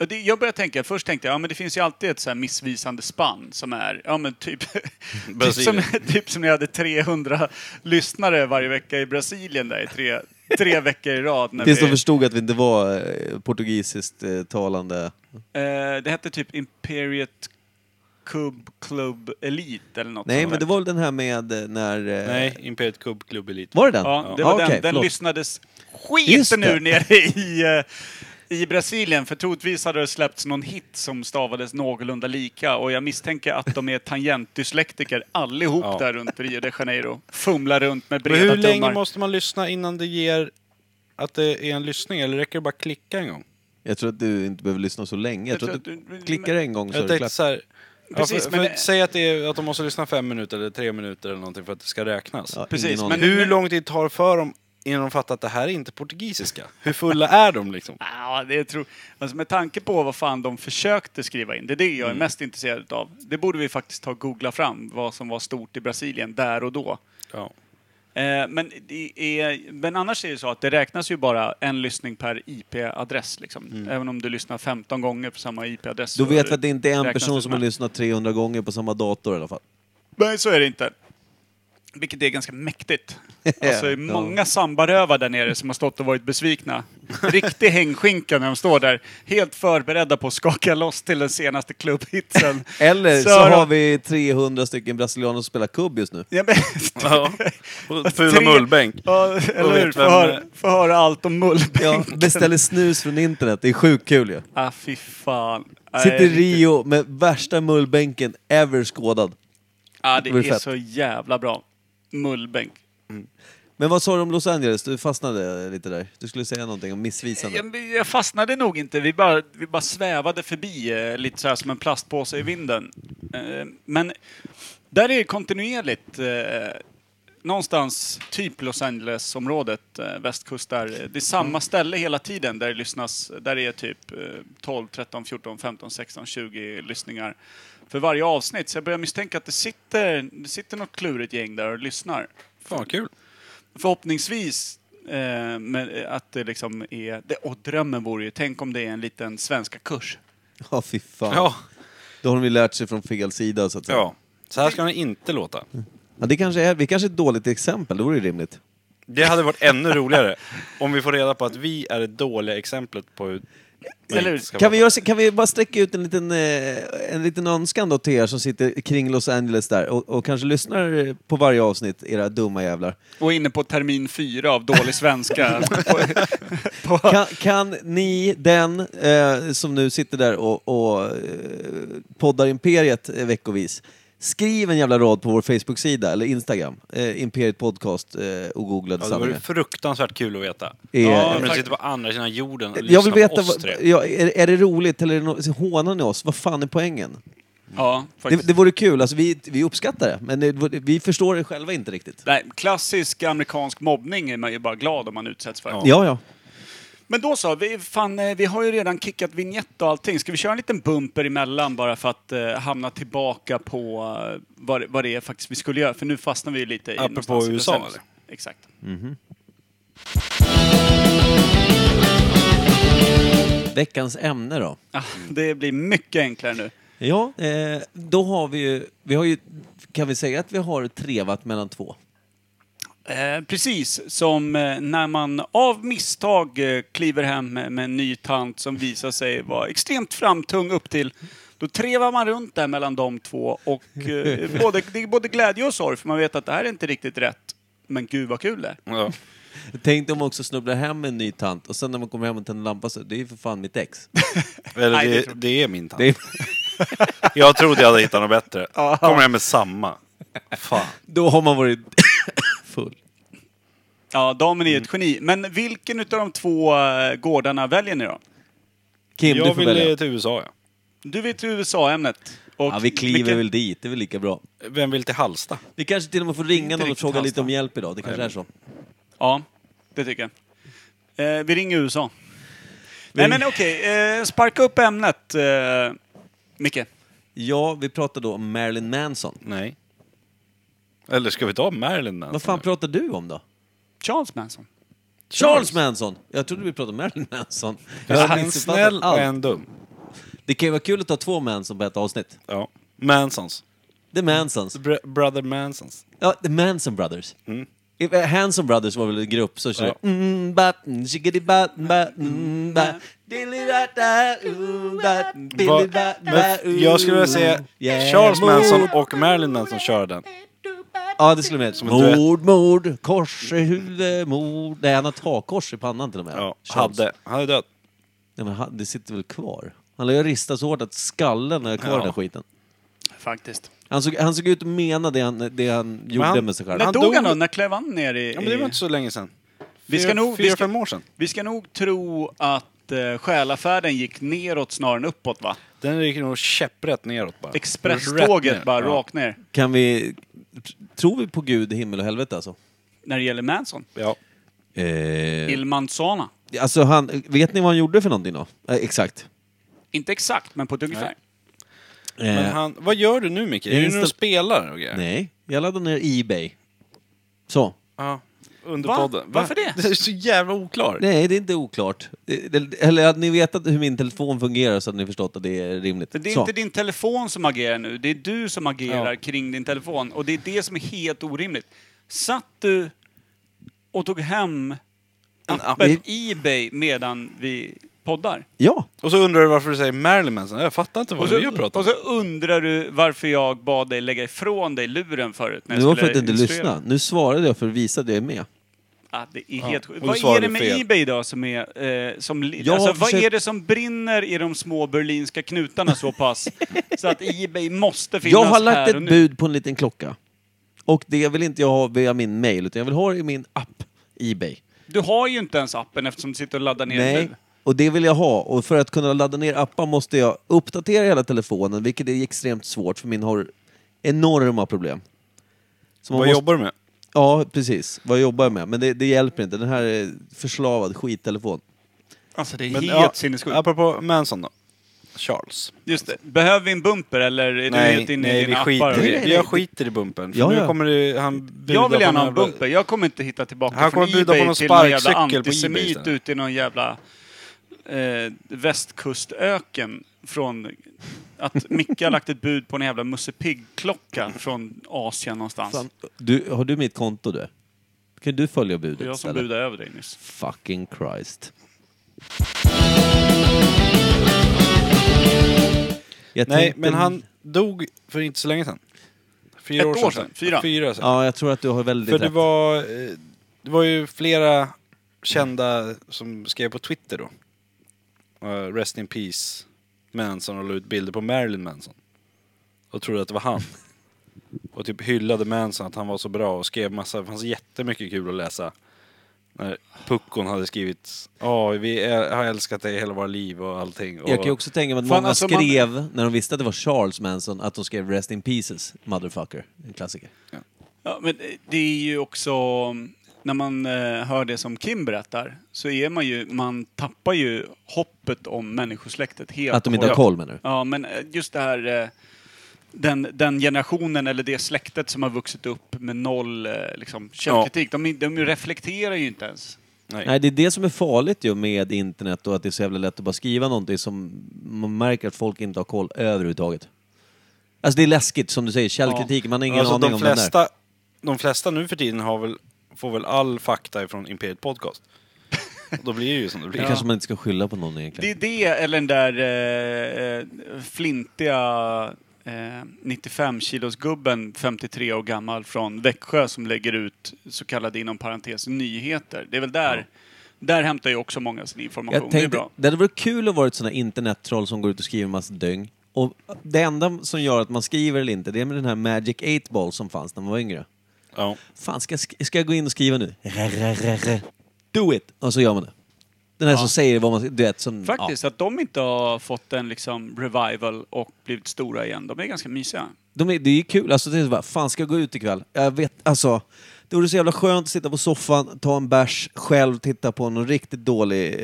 Speaker 3: Och det- Jag börjar tänka, först tänkte jag, ja men det finns ju alltid ett så här missvisande spann som är, ja men typ, typ, som,
Speaker 1: Brasilien.
Speaker 3: typ som när jag hade 300 lyssnare varje vecka i Brasilien där i tre, tre veckor i rad. När
Speaker 2: Tills de
Speaker 3: vi,
Speaker 2: förstod att vi inte var eh, portugisiskt eh, talande.
Speaker 3: eh, det hette typ Imperiet Cub Club Elite eller något
Speaker 2: Nej,
Speaker 3: sånt
Speaker 2: men det
Speaker 3: där.
Speaker 2: var väl den här med eh, när... eh,
Speaker 1: Nej, Imperiet Cub Club Elite.
Speaker 2: Var det den? Ah,
Speaker 3: Ja, det var
Speaker 2: okej,
Speaker 3: den. Den
Speaker 2: förlåt.
Speaker 3: lyssnades
Speaker 2: Just
Speaker 3: skiten
Speaker 2: det.
Speaker 3: nu nere i, eh, i Brasilien. För troligtvis hade det släppts någon hit som stavades någorlunda lika. Och jag misstänker att de är tangentdyslektiker allihop
Speaker 1: Ja.
Speaker 3: där runt Rio de Janeiro. Fumlar runt med
Speaker 1: Men
Speaker 3: breda
Speaker 1: hur länge
Speaker 3: tummar.
Speaker 1: måste man lyssna innan det ger att det är en lyssning? Eller räcker det bara att klicka en gång?
Speaker 2: Jag tror att du inte behöver lyssna så länge. Jag tror att du
Speaker 3: men-
Speaker 2: klickar en gång så är
Speaker 1: Jag
Speaker 2: det
Speaker 1: tänkte
Speaker 2: klart.
Speaker 1: så här,
Speaker 3: Precis,
Speaker 1: ja, för,
Speaker 3: men
Speaker 1: för
Speaker 3: det-
Speaker 1: Säg att, det är, att de måste lyssna fem minuter eller tre minuter eller någonting för att det ska räknas.
Speaker 2: Ja,
Speaker 3: Precis,
Speaker 2: ingen
Speaker 3: men
Speaker 2: aning.
Speaker 1: Hur lång tid tar det för dem innan de fattar att det här är inte portugisiska? Hur fulla är de liksom?
Speaker 3: Ja, det tror... Alltså med tanke på vad fan de försökte skriva in, det är det jag är mest intresserad av. Det borde vi faktiskt ta och googla fram, vad som var stort i Brasilien där och då.
Speaker 1: Ja.
Speaker 3: Eh, men, det är, men annars är det så att det räknas ju bara en lyssning per IP-adress. Liksom. Även om du lyssnar 15 gånger på samma IP-adress.
Speaker 2: Mm. Då
Speaker 3: så
Speaker 2: vet vi att det inte är en
Speaker 3: räknas
Speaker 2: person som har
Speaker 3: en.
Speaker 2: lyssnat 300 gånger på samma dator i alla fall.
Speaker 3: Nej, så är det inte. Vilket är ganska mäktigt. Alltså, det är
Speaker 2: Ja.
Speaker 3: många sambarövar där nere som har stått och varit besvikna. Riktig hängskinka när de står där, helt förberedda på att skaka loss till den senaste klubbhitsen.
Speaker 2: Eller så,
Speaker 3: har de-
Speaker 2: har vi 300 stycken brasilianer som spelar kubb just nu.
Speaker 3: Ja, men,
Speaker 1: Ja.
Speaker 3: Tre-
Speaker 1: Fula mullbänk.
Speaker 3: Ja, eller hur?
Speaker 1: vet
Speaker 3: Få
Speaker 1: vem-
Speaker 3: höra- få höra allt om mullbänken.
Speaker 2: Ja, beställer snus från internet. Det är sjukt kul ju.
Speaker 3: Ah, fy fan.
Speaker 2: Sitter i
Speaker 3: Nej,
Speaker 2: Rio med värsta mullbänken ever skådad.
Speaker 3: Ja, Ah, det
Speaker 2: Det vore
Speaker 3: är
Speaker 2: fett.
Speaker 3: så jävla bra. Mullbänk.
Speaker 2: Men vad sa du om Los Angeles? Du fastnade lite där. Du skulle säga någonting om missvisande.
Speaker 1: Ehm,
Speaker 3: Jag, jag fastnade nog inte. Vi bara, vi bara svävade förbi eh, lite så här som en plastpåse i vinden. Eh, men där är det kontinuerligt eh, någonstans typ Los Angeles-området, eh, västkust där. eh, Det är samma ställe hela tiden där det lyssnas. Där det är typ eh, 12, 13, 14, 15, 16, 20 lyssningar för varje avsnitt. Så jag börjar misstänka att det sitter, det sitter något klurigt gäng där och lyssnar.
Speaker 1: Fan vad kul.
Speaker 3: Förhoppningsvis eh, men eh, att det liksom är... Det, och drömmen vore ju, tänk om det är en liten svenska kurs.
Speaker 2: Ja, fy fan.
Speaker 1: Ja.
Speaker 2: Då har de ju lärt sig från fel sida så att säga.
Speaker 1: ja. Så här ska den inte låta.
Speaker 2: Ja, det kanske är, vi kanske är ett dåligt exempel. Det vore ju rimligt.
Speaker 1: Det hade varit ännu roligare om vi får reda på att vi är det dåliga exemplet på hur Men
Speaker 3: Eller hur?
Speaker 1: ska
Speaker 2: Kan
Speaker 1: vara-
Speaker 2: vi, göra, så- kan vi bara sträcka ut en liten, eh, en liten önskan då till er som sitter kring Los Angeles där och, och kanske lyssnar eh, på varje avsnitt, era dumma jävlar.
Speaker 3: Och inne på termin fyra av dålig svenska. på, på,
Speaker 2: Kan, kan ni, den eh, som nu sitter där och, och eh, poddar Imperiet eh, veckovis, skriv en jävla rad på vår Facebook-sida eller Instagram, eh, Imperiet Podcast eh, och googla
Speaker 1: Ja, det vore
Speaker 2: sanningar. fruktansvärt.
Speaker 1: fruktansvärt kul att veta.
Speaker 2: Eh,
Speaker 3: Ja,
Speaker 1: Om du
Speaker 3: tack.
Speaker 1: sitter på andra sidan jorden och
Speaker 2: jag vill veta,
Speaker 1: oss
Speaker 2: vad-
Speaker 1: tre.
Speaker 2: ja, är, är det roligt eller är det no- hånar ni oss? Vad fan är poängen?
Speaker 3: ja,
Speaker 2: Det,
Speaker 3: faktiskt.
Speaker 2: det vore kul, alltså, vi, vi uppskattar det, men det, vi förstår det själva inte riktigt.
Speaker 3: Nej, klassisk amerikansk mobbning är man ju bara glad om man utsätts för.
Speaker 2: Ja, ja.
Speaker 3: Men då så, vi, fan, eh, vi har ju redan kickat vignett och allting. Ska vi köra en liten bumper emellan bara för att eh, hamna tillbaka på eh, vad, det- vad det är faktiskt vi skulle göra? För nu fastnar vi ju lite i
Speaker 1: Apropå
Speaker 3: någonstans i
Speaker 1: USA,
Speaker 3: procent.
Speaker 1: eller?
Speaker 3: Exakt.
Speaker 2: Veckans ämne då?
Speaker 3: Ja, Ah, det blir mycket enklare nu.
Speaker 2: Ja, eh, då har vi ju, vi har ju, kan vi säga att vi har trevat mellan två?
Speaker 3: Eh, precis som eh, när man av misstag eh, kliver hem med, med en ny tant som visar sig vara extremt framtung upp till. Då trevar man runt där mellan de två och eh, både, det är både glädje och sorg för man vet att det här är inte riktigt rätt. Men gud vad kul det är.
Speaker 1: Ja.
Speaker 2: Tänk om man också snubblar hem en ny tant och sen när man kommer hem och tänder lampan så, det är ju för fan mitt ex.
Speaker 1: Eller
Speaker 3: Nej, det
Speaker 1: det,
Speaker 3: tror-
Speaker 1: det är min tant.
Speaker 2: Det är,
Speaker 1: Jag trodde jag hade hittat något bättre. Kommer jag med samma. Fan.
Speaker 2: då har man varit full.
Speaker 3: Ja, damen är ett geni. Men vilken utav de två eh, gårdarna väljer ni då?
Speaker 2: Kim, du
Speaker 1: Jag
Speaker 2: får
Speaker 1: vill eh,
Speaker 2: välja.
Speaker 1: till USA, ja.
Speaker 3: Du vet ju USA-ämnet. Och
Speaker 2: Ja, vi kliver
Speaker 3: vilken-
Speaker 2: väl dit, det är väl lika bra.
Speaker 1: Vem vill till Halsta?
Speaker 2: Vi kanske till och med får ringa någon och
Speaker 3: riktigt
Speaker 2: fråga lite
Speaker 3: Halmstad.
Speaker 2: om hjälp idag, det kanske är så.
Speaker 3: Ja, det tycker jag. Eh, vi ringer USA. Nej men okej, eh, sparka upp ämnet. Eh, Micke.
Speaker 2: Ja, vi pratar då om Marilyn Manson.
Speaker 1: Nej. Eller ska vi ta Marilyn Manson?
Speaker 2: Vad fan
Speaker 1: nu?
Speaker 2: pratar du om då?
Speaker 3: Charles Manson.
Speaker 2: Charles Manson! Jag trodde vi pratade om Marilyn Manson. Jag har
Speaker 1: Ja, En
Speaker 2: missuppfattat
Speaker 1: snäll och
Speaker 2: allt.
Speaker 1: en dum.
Speaker 2: Det kan ju vara kul att ta två Manson på ett avsnitt.
Speaker 1: Ja. Mansons.
Speaker 2: The Mansons.
Speaker 1: Br- brother Mansons.
Speaker 2: Ja, The Manson Brothers. If- eh, Hanson Brothers var väl en grupp som körde...
Speaker 1: Mm. Ja.
Speaker 2: Mm, ba, mm, shigidi ba, mm, ba, mm, ba. Dilly da da, ooh, ba, billy
Speaker 1: Va-
Speaker 2: ba, ba,
Speaker 1: Men jag skulle vilja se
Speaker 2: ooh. Yeah,
Speaker 1: Charles
Speaker 2: mord.
Speaker 1: Manson och Marilyn Manson köra den.
Speaker 2: Ja, det skulle med.
Speaker 1: Som en duett.
Speaker 2: Mord, mord, kors i huvudet, mord. Nej, han har takkors i pannan till och med.
Speaker 1: Ja,
Speaker 2: Charles.
Speaker 1: hade. Han är död.
Speaker 2: Nej, men han- det sitter väl kvar? Han lär ju rista så hårt att skallen är kvar i
Speaker 1: Ja.
Speaker 2: den här skiten.
Speaker 3: Faktiskt.
Speaker 2: Han såg, han såg ut att mena det han, det han gjorde
Speaker 1: han-
Speaker 2: med sig själv.
Speaker 3: När
Speaker 1: Han
Speaker 3: dog
Speaker 1: dog-
Speaker 3: han då? När klev han ner i...
Speaker 1: Ja, men det var inte så länge sedan.
Speaker 3: Vi ska
Speaker 1: Fyra-
Speaker 3: nog- vi
Speaker 1: Fyra,
Speaker 3: ska-
Speaker 1: fem år sedan.
Speaker 3: Vi ska nog tro att eh, själafärden gick neråt snarare än uppåt va?
Speaker 1: Den gick nog käpprätt neråt bara. Rätt
Speaker 3: Expresståget
Speaker 1: ner.
Speaker 3: bara
Speaker 1: Ja.
Speaker 3: rakt ner.
Speaker 2: Kan vi... tr- Tror vi på Gud, himmel och helvete alltså?
Speaker 3: När det gäller Manson.
Speaker 1: Ja.
Speaker 2: Eh,
Speaker 3: Il Manzana.
Speaker 2: alltså han, vet ni vad han gjorde för någonting då? Eh, exakt.
Speaker 3: Inte exakt, men på ett ungefär.
Speaker 2: Eh,
Speaker 1: Men han, vad gör du nu Micke? Är
Speaker 2: Jag
Speaker 1: du nu och
Speaker 2: insta-
Speaker 1: spelar och grejer?
Speaker 2: Nej, jag laddade ner Ebay. Så.
Speaker 1: Ja. Under
Speaker 3: Va?
Speaker 1: podden.
Speaker 3: Varför det?
Speaker 1: Det är så jävla oklart.
Speaker 2: Nej, det är inte oklart. Det- det- Eller hade ni vetat hur min telefon fungerar så hade ni förstått att det är rimligt.
Speaker 3: För det är
Speaker 2: så.
Speaker 3: inte din telefon som agerar nu, det är du som agerar
Speaker 1: Ja.
Speaker 3: kring din telefon. Och det är det som är helt orimligt. Satt du och tog hem appen Ebay medan vi poddar?
Speaker 2: Ja,
Speaker 1: Och så undrar du varför du säger Marilyn Manson. Jag fattar inte
Speaker 3: Och
Speaker 1: vad vi har
Speaker 3: så, och
Speaker 1: pratat
Speaker 3: så
Speaker 1: om.
Speaker 3: undrar du varför jag bad dig lägga ifrån dig luren förut. När
Speaker 2: det
Speaker 3: jag
Speaker 2: var för
Speaker 3: skulle
Speaker 2: att inte
Speaker 3: illustrera.
Speaker 2: lyssna. Nu svarade jag för att visa att jag är med.
Speaker 3: Ah, det är helt
Speaker 1: och
Speaker 3: sjukt.
Speaker 1: då
Speaker 3: Vad är
Speaker 1: svarade
Speaker 3: det
Speaker 1: du
Speaker 3: med
Speaker 1: fel.
Speaker 3: Ebay då som är... Eh, som, li-
Speaker 2: Jag
Speaker 3: alltså,
Speaker 2: har
Speaker 3: Vad
Speaker 2: försökt-
Speaker 3: är det som brinner i de små berlinska knutarna så pass? så att Ebay måste finnas
Speaker 2: Jag har
Speaker 3: här
Speaker 2: lagt
Speaker 3: och
Speaker 2: ett
Speaker 3: nu.
Speaker 2: bud på en liten klocka. Och det vill inte jag ha via min mail, utan jag vill ha det i min app, Ebay.
Speaker 3: Du har ju inte ens appen eftersom du sitter och laddar ner
Speaker 2: Nej,
Speaker 3: nu.
Speaker 2: och det vill jag ha. Och för att kunna ladda ner appar måste jag uppdatera hela telefonen, vilket är extremt svårt för min har enorma problem. Så man
Speaker 1: Vad
Speaker 2: måste-
Speaker 1: jobbar du med?
Speaker 2: Ja, precis. Vad jobbar jag med? Men det, det hjälper inte. Den här är förslavad skittelefon.
Speaker 3: Alltså det är
Speaker 1: Men,
Speaker 3: helt
Speaker 1: ja,
Speaker 3: sinnessjukt.
Speaker 1: Apropå Manson då. Charles.
Speaker 3: Just det. Behöver vi en bumper eller är du helt inne i
Speaker 1: nej, vi
Speaker 3: dina appar?
Speaker 1: skiter,
Speaker 3: och
Speaker 1: i-
Speaker 2: Nej,
Speaker 3: grejer?
Speaker 2: nej,
Speaker 1: jag
Speaker 2: det-
Speaker 1: skiter i bumpen. För
Speaker 2: Ja,
Speaker 1: nu
Speaker 2: ja.
Speaker 1: kommer det, han bjuda
Speaker 3: Jag vill
Speaker 1: på
Speaker 3: gärna ha
Speaker 1: någon
Speaker 3: en
Speaker 1: jävla-
Speaker 3: bumper. Jag kommer inte hitta tillbaka
Speaker 1: Han kommer
Speaker 3: från
Speaker 1: bjuda på
Speaker 3: Ebay
Speaker 1: någon
Speaker 3: till någon jävla
Speaker 1: sparkcykel på Ebay
Speaker 3: antisemit
Speaker 1: istället.
Speaker 3: ute i någon jävla eh, västkustöken. Från att Micke har lagt ett bud på en jävla Musse Pigg-klocka från Asien någonstans.
Speaker 1: Alltså.
Speaker 2: Fan, du, har du mitt konto du? Kan du följa
Speaker 3: jag
Speaker 2: budet
Speaker 3: som
Speaker 2: istället?
Speaker 3: budade över dig nyss.
Speaker 2: Fucking Christ. Jag
Speaker 1: Nej,
Speaker 2: tänkte-
Speaker 1: men han dog för inte så länge sedan. Fyra
Speaker 3: Ett år sedan. Fyra.
Speaker 1: Fyra år sedan.
Speaker 2: Ja, jag tror att du har väldigt
Speaker 1: För det
Speaker 2: rätt.
Speaker 1: var, eh, det var ju flera kända som skrev på Twitter då. Eh, Rest in peace Manson och la ut bilder på Marilyn Manson. Och trodde att det var han. Och typ hyllade Manson att han var så bra och skrev massa, det fanns jättemycket kul att läsa. När Puckon hade skrivit Ja, vi äl- har älskat dig hela våra liv och allting. Och
Speaker 2: Jag kan ju också tänka mig att
Speaker 3: Fan,
Speaker 2: många
Speaker 3: alltså, man-
Speaker 2: skrev, när de visste att det var Charles Manson, att de skrev Rest in Pieces, motherfucker. En klassiker.
Speaker 3: Ja, men det är ju också... När man eh, hör det som Kim berättar så är man ju... Man tappar ju hoppet om människosläktet helt
Speaker 2: Att de inte
Speaker 3: och
Speaker 2: har
Speaker 3: hållet.
Speaker 2: koll menar du?
Speaker 3: Ja, men eh, just det här... eh, Den, den generationen eller det släktet som har vuxit upp med noll eh, liksom, källkritik, de, de reflekterar ju inte ens.
Speaker 1: nej.
Speaker 2: Nej, det är det som är farligt ju med internet och att det är så jävla lätt att bara skriva någonting som man märker att folk inte har koll överhuvudtaget. Alltså det är läskigt, som du säger, källkritik, man har ingen
Speaker 1: alltså,
Speaker 2: aning
Speaker 1: de,
Speaker 2: om den där.
Speaker 1: flesta, de flesta nu för tiden har väl, får väl all fakta ifrån Imperiet Podcast. Och då blir det ju som det
Speaker 2: Det
Speaker 1: blir.
Speaker 2: kanske man inte ska skylla på någon
Speaker 3: Det är
Speaker 2: egentligen.
Speaker 3: det eller den där eh, eh, flintiga eh, 95 kilos gubben 53 år gammal från Växjö som lägger ut så kallade inom parentes nyheter. Det är väl där. Där hämtar ju också många sin information.
Speaker 2: Jag
Speaker 3: det är
Speaker 2: tänkte,
Speaker 3: bra.
Speaker 2: det hade varit kul att vara ett sånt här internettroll som går ut och skriver en massa döng. Och det enda som gör att man skriver eller inte, det är med den här Magic 8-ball som fanns när man var yngre.
Speaker 1: Ja.
Speaker 2: Fan, ska jag, sk- ska jag gå in och skriva nu? Rrrrrrr. Do it! Och så gör man det. Den här som säger vad man ska... Du vet, som...
Speaker 3: Faktiskt, att de inte har fått en liksom revival och blivit stora igen. De är ganska mysiga.
Speaker 2: De är, det är ju kul. Alltså, det är så bara, fan ska jag gå ut ikväll? Jag vet, alltså, det vore så jävla skönt att sitta på soffan, ta en bärs, själv titta på någon riktigt dålig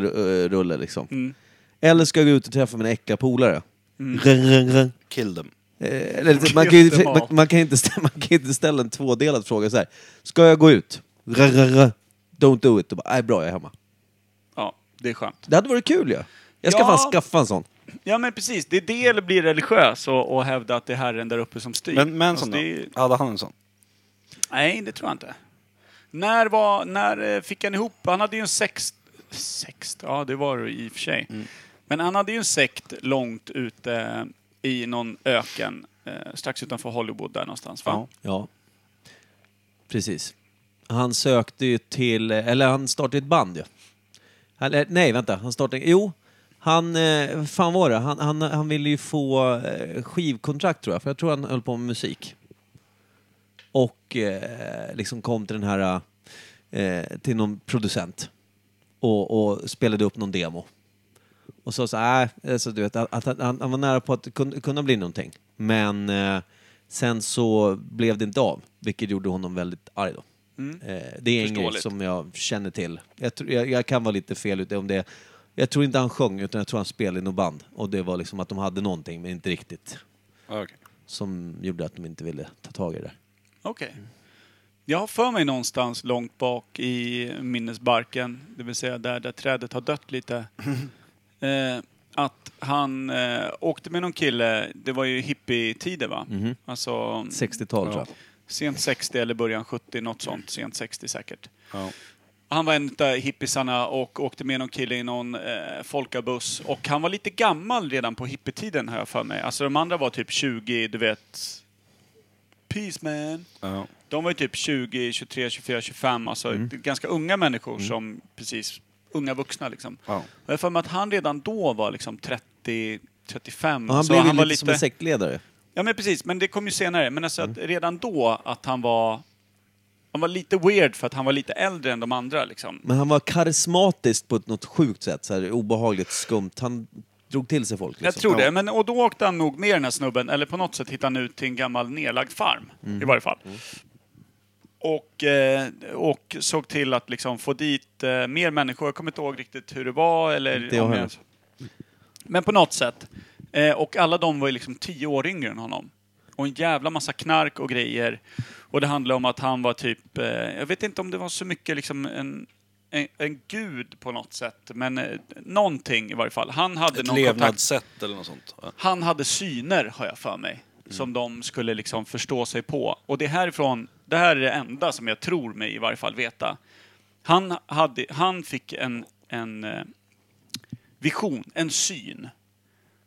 Speaker 2: rugguglerulle liksom.
Speaker 3: Mm.
Speaker 2: Eller ska jag gå ut och träffa mina äckliga polare? Rrrr, rrrr.
Speaker 1: Kill them.
Speaker 2: Eh, Eller, lite- man, kan ju,
Speaker 3: Jättebra.
Speaker 2: man, man, kan inte ställa, man kan inte ställa en tvådelad fråga så här. Ska jag gå ut? Rrrr, Don't do it. Och bara, Nej, bra, jag är hemma.
Speaker 3: Ja, det är skönt.
Speaker 2: Det hade varit kul ju. Jag ska
Speaker 3: Ja.
Speaker 2: fan skaffa en sån.
Speaker 3: Ja men precis, det är det eller bli religiös och, och hävda att det är Herren där uppe som styr.
Speaker 1: Men
Speaker 3: Alltså,
Speaker 1: Manson då?
Speaker 3: det är-
Speaker 1: Hade han en sån?
Speaker 3: Nej, det tror jag inte. När, var, när eh, fick han ihop... Han hade ju en sext... Sext? Ja, det var det i och för sig. Men han hade ju en sekt långt ute i någon öken eh, strax utanför Hollywood där någonstans, va?
Speaker 1: Ja.
Speaker 2: Ja. Precis. Han sökte ju till, eller han startade ett band ju. Han- eh, nej, vänta. Han startade, jo. Han, eh, vad fan var det? Han, han, han ville ju få eh, skivkontrakt tror jag, för jag tror han höll på med musik. Och eh, liksom kom till den här, eh, till någon producent. Och, och spelade upp någon demo. Och så så här, äh, alltså, du vet, att, att, han, han var nära på att kunna, kunna bli någonting. Men eh, sen så blev det inte av, vilket gjorde honom väldigt arg då. Eh, det är en grej
Speaker 3: Förståeligt.
Speaker 2: som jag känner till. Jag, tror, jag, jag kan vara lite fel ute om det. Jag tror inte han sjöng, utan jag tror han spelade i något band. Och det var liksom att de hade någonting, men inte riktigt.
Speaker 1: Ja, okej.
Speaker 2: Som gjorde att de inte ville ta tag i det.
Speaker 3: Okej. Jag har för mig någonstans långt bak i minnesbarken, det vill säga där, där trädet har dött lite, eh, att han eh, åkte med någon kille, det var ju hippietider va? Alltså,
Speaker 2: 60-tal tror
Speaker 1: Ja.
Speaker 2: jag.
Speaker 3: Sent 60 eller början 70, något sånt. Sent 60 säkert.
Speaker 1: Ja.
Speaker 3: Han var en utav hippisarna och åkte med någon kille i någon eh, folkabuss. Och han var lite gammal redan på hippietiden har jag för mig. Alltså de andra var typ 20, du vet... Peace man.
Speaker 1: Ja. Mm.
Speaker 3: De var ju typ 20, 23, 24, 25. Alltså ganska unga människor som precis... Unga vuxna liksom.
Speaker 1: Ja.
Speaker 3: Och jag har för mig att han redan då var liksom 30, 35.
Speaker 2: Och han
Speaker 3: Så
Speaker 2: blev ju
Speaker 3: var
Speaker 2: lite, som en sektledare.
Speaker 3: Ja men precis, men det kom ju senare. Men alltså att redan då att han var... Han var lite weird för att han var lite äldre än de andra liksom.
Speaker 2: Men han var karismatisk på ett något sjukt sätt, så här, obehagligt skumt. Han drog till sig folk. Liksom.
Speaker 3: Jag tror det. Men, och då åkte han nog med den här snubben, eller på något sätt hittade han ut till en gammal nedlagd farm.
Speaker 2: Mm.
Speaker 3: I varje fall. Och, eh, och såg till att liksom få dit eh, mer människor. Jag kommer inte ihåg riktigt hur det var eller...
Speaker 2: Inte jag
Speaker 3: om
Speaker 2: heller.
Speaker 3: Men på något sätt. Eh, och alla de var ju liksom tio år yngre än honom. Och en jävla massa knark och grejer. Och det handlade om att han var typ, eh, jag vet inte om det var så mycket liksom en, en, en gud på något sätt. Men eh, någonting i varje fall. Han hade
Speaker 1: Ett
Speaker 3: någon kontakt
Speaker 1: levnadssätt eller något sånt. Ja.
Speaker 3: han hade syner, har jag för mig,
Speaker 2: Mm.
Speaker 3: som de skulle liksom förstå sig på. Och det härifrån, det här är det enda som jag tror mig i varje fall veta. Han, hade, han fick en, en eh, vision, en syn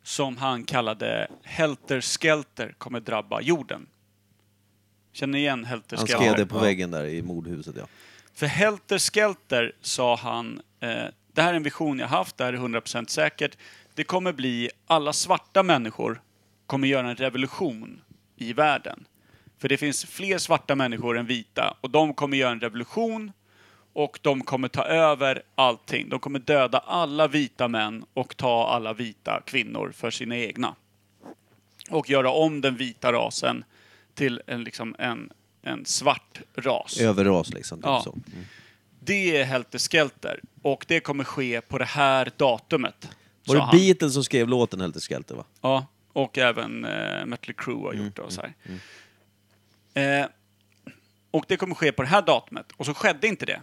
Speaker 3: som han kallade Helter Skelter kommer drabba jorden. Känner ni igen Helter
Speaker 2: Han
Speaker 3: Skelter?
Speaker 2: skrev det på
Speaker 3: Ja.
Speaker 2: väggen där i mordhuset, ja.
Speaker 3: För Helter Skelter sa han, eh, det här är en vision jag haft, det här är 100% säkert. Det kommer bli, alla svarta människor kommer göra en revolution i världen. För det finns fler svarta människor än vita och de kommer göra en revolution och de kommer ta över allting. De kommer döda alla vita män och ta alla vita kvinnor för sina egna och göra om den vita rasen till en, liksom en, en svart ras.
Speaker 2: Överras liksom. Typ
Speaker 3: Ja.
Speaker 2: så.
Speaker 3: Det är Helter Skelter och det kommer ske på det här datumet. sa
Speaker 2: Var det
Speaker 3: han.
Speaker 2: Beatles som skrev låten Helter Skelter, va?
Speaker 3: Ja, och även eh, Mötley Crüe har gjort det och så här. Eh, och det kommer ske på det här datumet och så skedde inte det.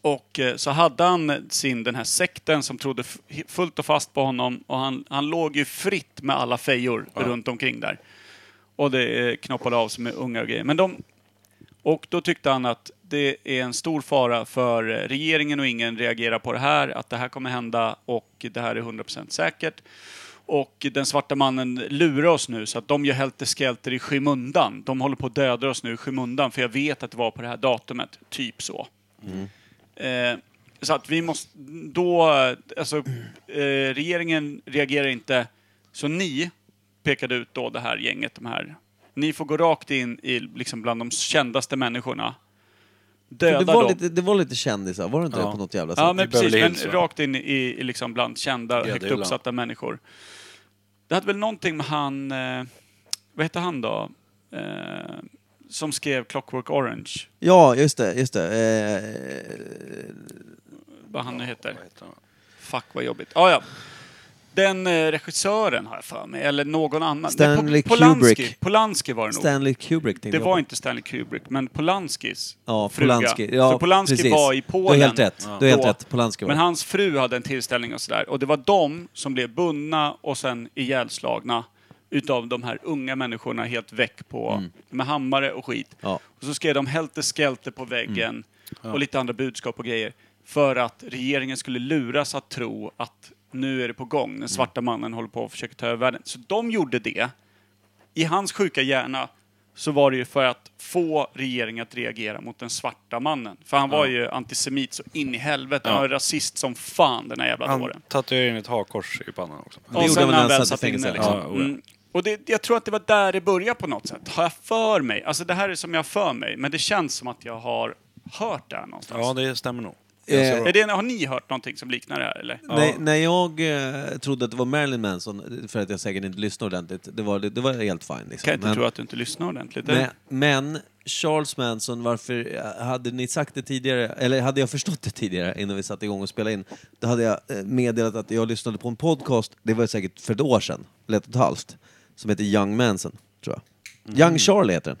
Speaker 3: Och eh, så hade han sin, den här sekten som trodde f- fullt och fast på honom och han, han låg ju fritt med alla fejor runt omkring där. Och det eh, knoppade av sig med unga och grejer. Men de, och då tyckte han att det är en stor fara för eh, regeringen och ingen reagerar på det här, att det här kommer hända och det här är 100% säkert. Och den svarta mannen lurar oss nu så att de gör helter skelter i skymundan. De håller på att döda oss nu i skymundan för jag vet att det var på det här datumet. Typ så. Eh, så att vi måste, då, eh, alltså eh, regeringen reagerar inte. Så ni pekade ut då det här gänget, de här. Ni får gå rakt in i, liksom bland de kändaste människorna.
Speaker 2: För
Speaker 3: Döda
Speaker 2: Det var,
Speaker 3: dem.
Speaker 2: lite, det var lite kändisar, var det inte det
Speaker 1: Ja.
Speaker 2: på något jävla sätt?
Speaker 3: Ja, men
Speaker 1: I Beverly
Speaker 3: precis. Men
Speaker 1: Hills, va?
Speaker 3: rakt in i, i liksom bland kända,
Speaker 1: det
Speaker 3: högt
Speaker 1: är land.
Speaker 3: uppsatta människor. Det hade väl någonting med han, eh, vad heter han då? Eh, som skrev Clockwork Orange,
Speaker 2: Ja, just det, just det. Eh,
Speaker 3: vad han nu heter.
Speaker 1: Vad heter han?
Speaker 3: Fuck vad jobbigt. Ah, ja. Den eh, regissören har jag för mig, eller någon annan.
Speaker 2: Stanley
Speaker 3: Nej, Po- Polanski.
Speaker 2: Kubrick.
Speaker 3: Polanski var det nog.
Speaker 2: Stanley Kubrick tänkte
Speaker 3: det
Speaker 2: jag
Speaker 3: var
Speaker 2: på.
Speaker 3: inte Stanley Kubrick, men Polanskis
Speaker 2: Ja,
Speaker 3: fruga.
Speaker 2: Polanski. Ja,
Speaker 3: För Polanski
Speaker 2: precis.
Speaker 3: var i Polen.
Speaker 2: Du har helt rätt. Du har helt
Speaker 3: då.
Speaker 2: rätt. Polanski var
Speaker 3: Men
Speaker 2: det.
Speaker 3: hans fru hade en tillställning och sådär. Och det var de som blev bundna och sen ihjälslagna utav de här unga människorna helt väck på, med hammare och skit.
Speaker 2: Mm. Ja. Mm.
Speaker 3: Och så skrev de Helter Skelter på väggen och lite andra budskap och grejer. För att regeringen skulle luras att tro att nu är det på gång, den svarta mannen håller på att försöka ta över världen. Så de gjorde det. I hans sjuka hjärna så var det ju för att få regeringen att reagera mot den svarta mannen. För han var ju antisemit så in i helvete. Han var rasist som fan den här jävla dåren.
Speaker 1: Han tatuerade in ett hakkors i pannan också.
Speaker 2: gjorde
Speaker 3: Och sen
Speaker 2: han
Speaker 3: när han
Speaker 2: när
Speaker 3: väl
Speaker 2: han satt
Speaker 3: satt
Speaker 2: i
Speaker 3: inne
Speaker 2: fängelse. oh
Speaker 3: liksom.
Speaker 1: Ja, oja.
Speaker 3: mm. Och det, jag tror att det var där det började på något sätt. Har jag för mig? Alltså det här är som jag har för mig, men det känns som att jag har hört det här någonstans.
Speaker 1: Ja, det stämmer nog.
Speaker 2: Eh,
Speaker 1: Jag
Speaker 3: är
Speaker 1: ser-
Speaker 3: det, har ni hört någonting som liknar det här eller?
Speaker 2: Nej, när jag eh, trodde att det var Marilyn Manson, för att jag säkert inte lyssnade ordentligt, det var, det, det var helt fine. Liksom.
Speaker 3: Kan jag inte
Speaker 2: Men-
Speaker 3: tro att du inte lyssnar ordentligt. eller?
Speaker 2: Men, men Charles Manson, varför hade ni sagt det tidigare? Eller hade jag förstått det tidigare innan vi satte igång och spelade in? Då hade jag eh, meddelat att jag lyssnade på en podcast, det var säkert för ett år sedan, eller ett och ett halvt, som heter Young Manson, tror jag.
Speaker 3: Mm.
Speaker 2: Young Charlie heter den.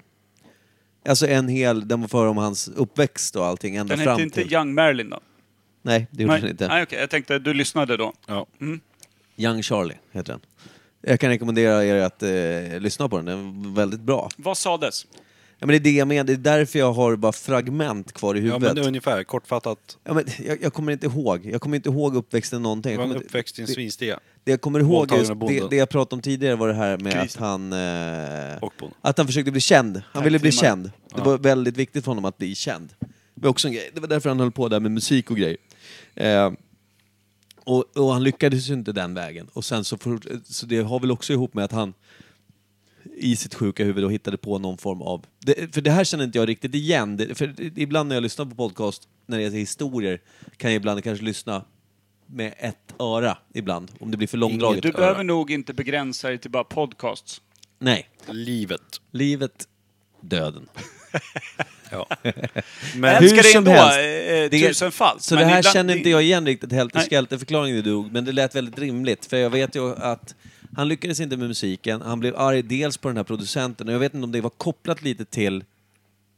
Speaker 2: Alltså en hel, den var för om hans uppväxt och allting ända
Speaker 3: Den
Speaker 2: fram
Speaker 3: hette
Speaker 2: till...
Speaker 3: inte Young Marilyn då?
Speaker 2: Nej, det gjorde
Speaker 3: Nej,
Speaker 2: den inte.
Speaker 3: Nej, okej. Jag tänkte, du lyssnade då.
Speaker 1: Ja.
Speaker 2: Young Charlie heter den. Jag kan rekommendera er att eh, lyssna på den, den är väldigt bra.
Speaker 3: Vad sades?
Speaker 2: Ja, men det är det jag menar, det är därför jag har bara fragment kvar i
Speaker 1: ja,
Speaker 2: huvudet.
Speaker 1: men ungefär. Kortfattat.
Speaker 2: Ja, men jag, jag kommer inte ihåg. Jag kommer inte ihåg uppväxten någonting.
Speaker 1: Det
Speaker 2: Jag
Speaker 1: var en
Speaker 2: kommer, inte-
Speaker 1: uppväxt i en
Speaker 2: det,
Speaker 1: svinstia.
Speaker 2: det jag kommer ihåg
Speaker 1: Våldtagen
Speaker 2: just
Speaker 1: av
Speaker 2: det,
Speaker 1: bonden.
Speaker 2: det jag pratade om tidigare var det här med
Speaker 3: Krisen.
Speaker 2: att han... Eh,
Speaker 1: Och bonden.
Speaker 2: att han försökte bli känd. Han ville bli
Speaker 3: timmar.
Speaker 2: känd. Det var väldigt viktigt för honom att bli känd. Det var också en grej. Det var därför han höll på där med musik och grejer. Eh, och, och han lyckades ju inte den vägen. Och sen så, fort- så det har väl också ihop med att han i sitt sjuka huvud och hittade på någon form av... Det, för det här känner inte jag riktigt igen. Det, för det- ibland när jag lyssnar på podcast, när det är historier, kan jag ibland kanske lyssna med ett öra ibland, om det blir för långdraget.
Speaker 1: Inget
Speaker 3: Du
Speaker 1: öra.
Speaker 3: behöver nog inte begränsa dig till bara podcasts.
Speaker 2: Nej.
Speaker 1: Livet.
Speaker 2: Livet, döden.
Speaker 1: Ja.
Speaker 3: Jag
Speaker 1: Men
Speaker 3: älskar det ändå,
Speaker 2: helst.
Speaker 3: eh,
Speaker 2: Det-
Speaker 3: tusenfalt.
Speaker 2: Så
Speaker 3: men
Speaker 2: det här
Speaker 3: ibland-
Speaker 2: känner inte jag igen riktigt, Helter
Speaker 3: Nej.
Speaker 2: Skelter-förklaringen du dog, men det lät väldigt rimligt. För jag vet ju att han lyckades inte med musiken, han blev arg dels på den här producenten, och jag vet inte om det var kopplat lite till,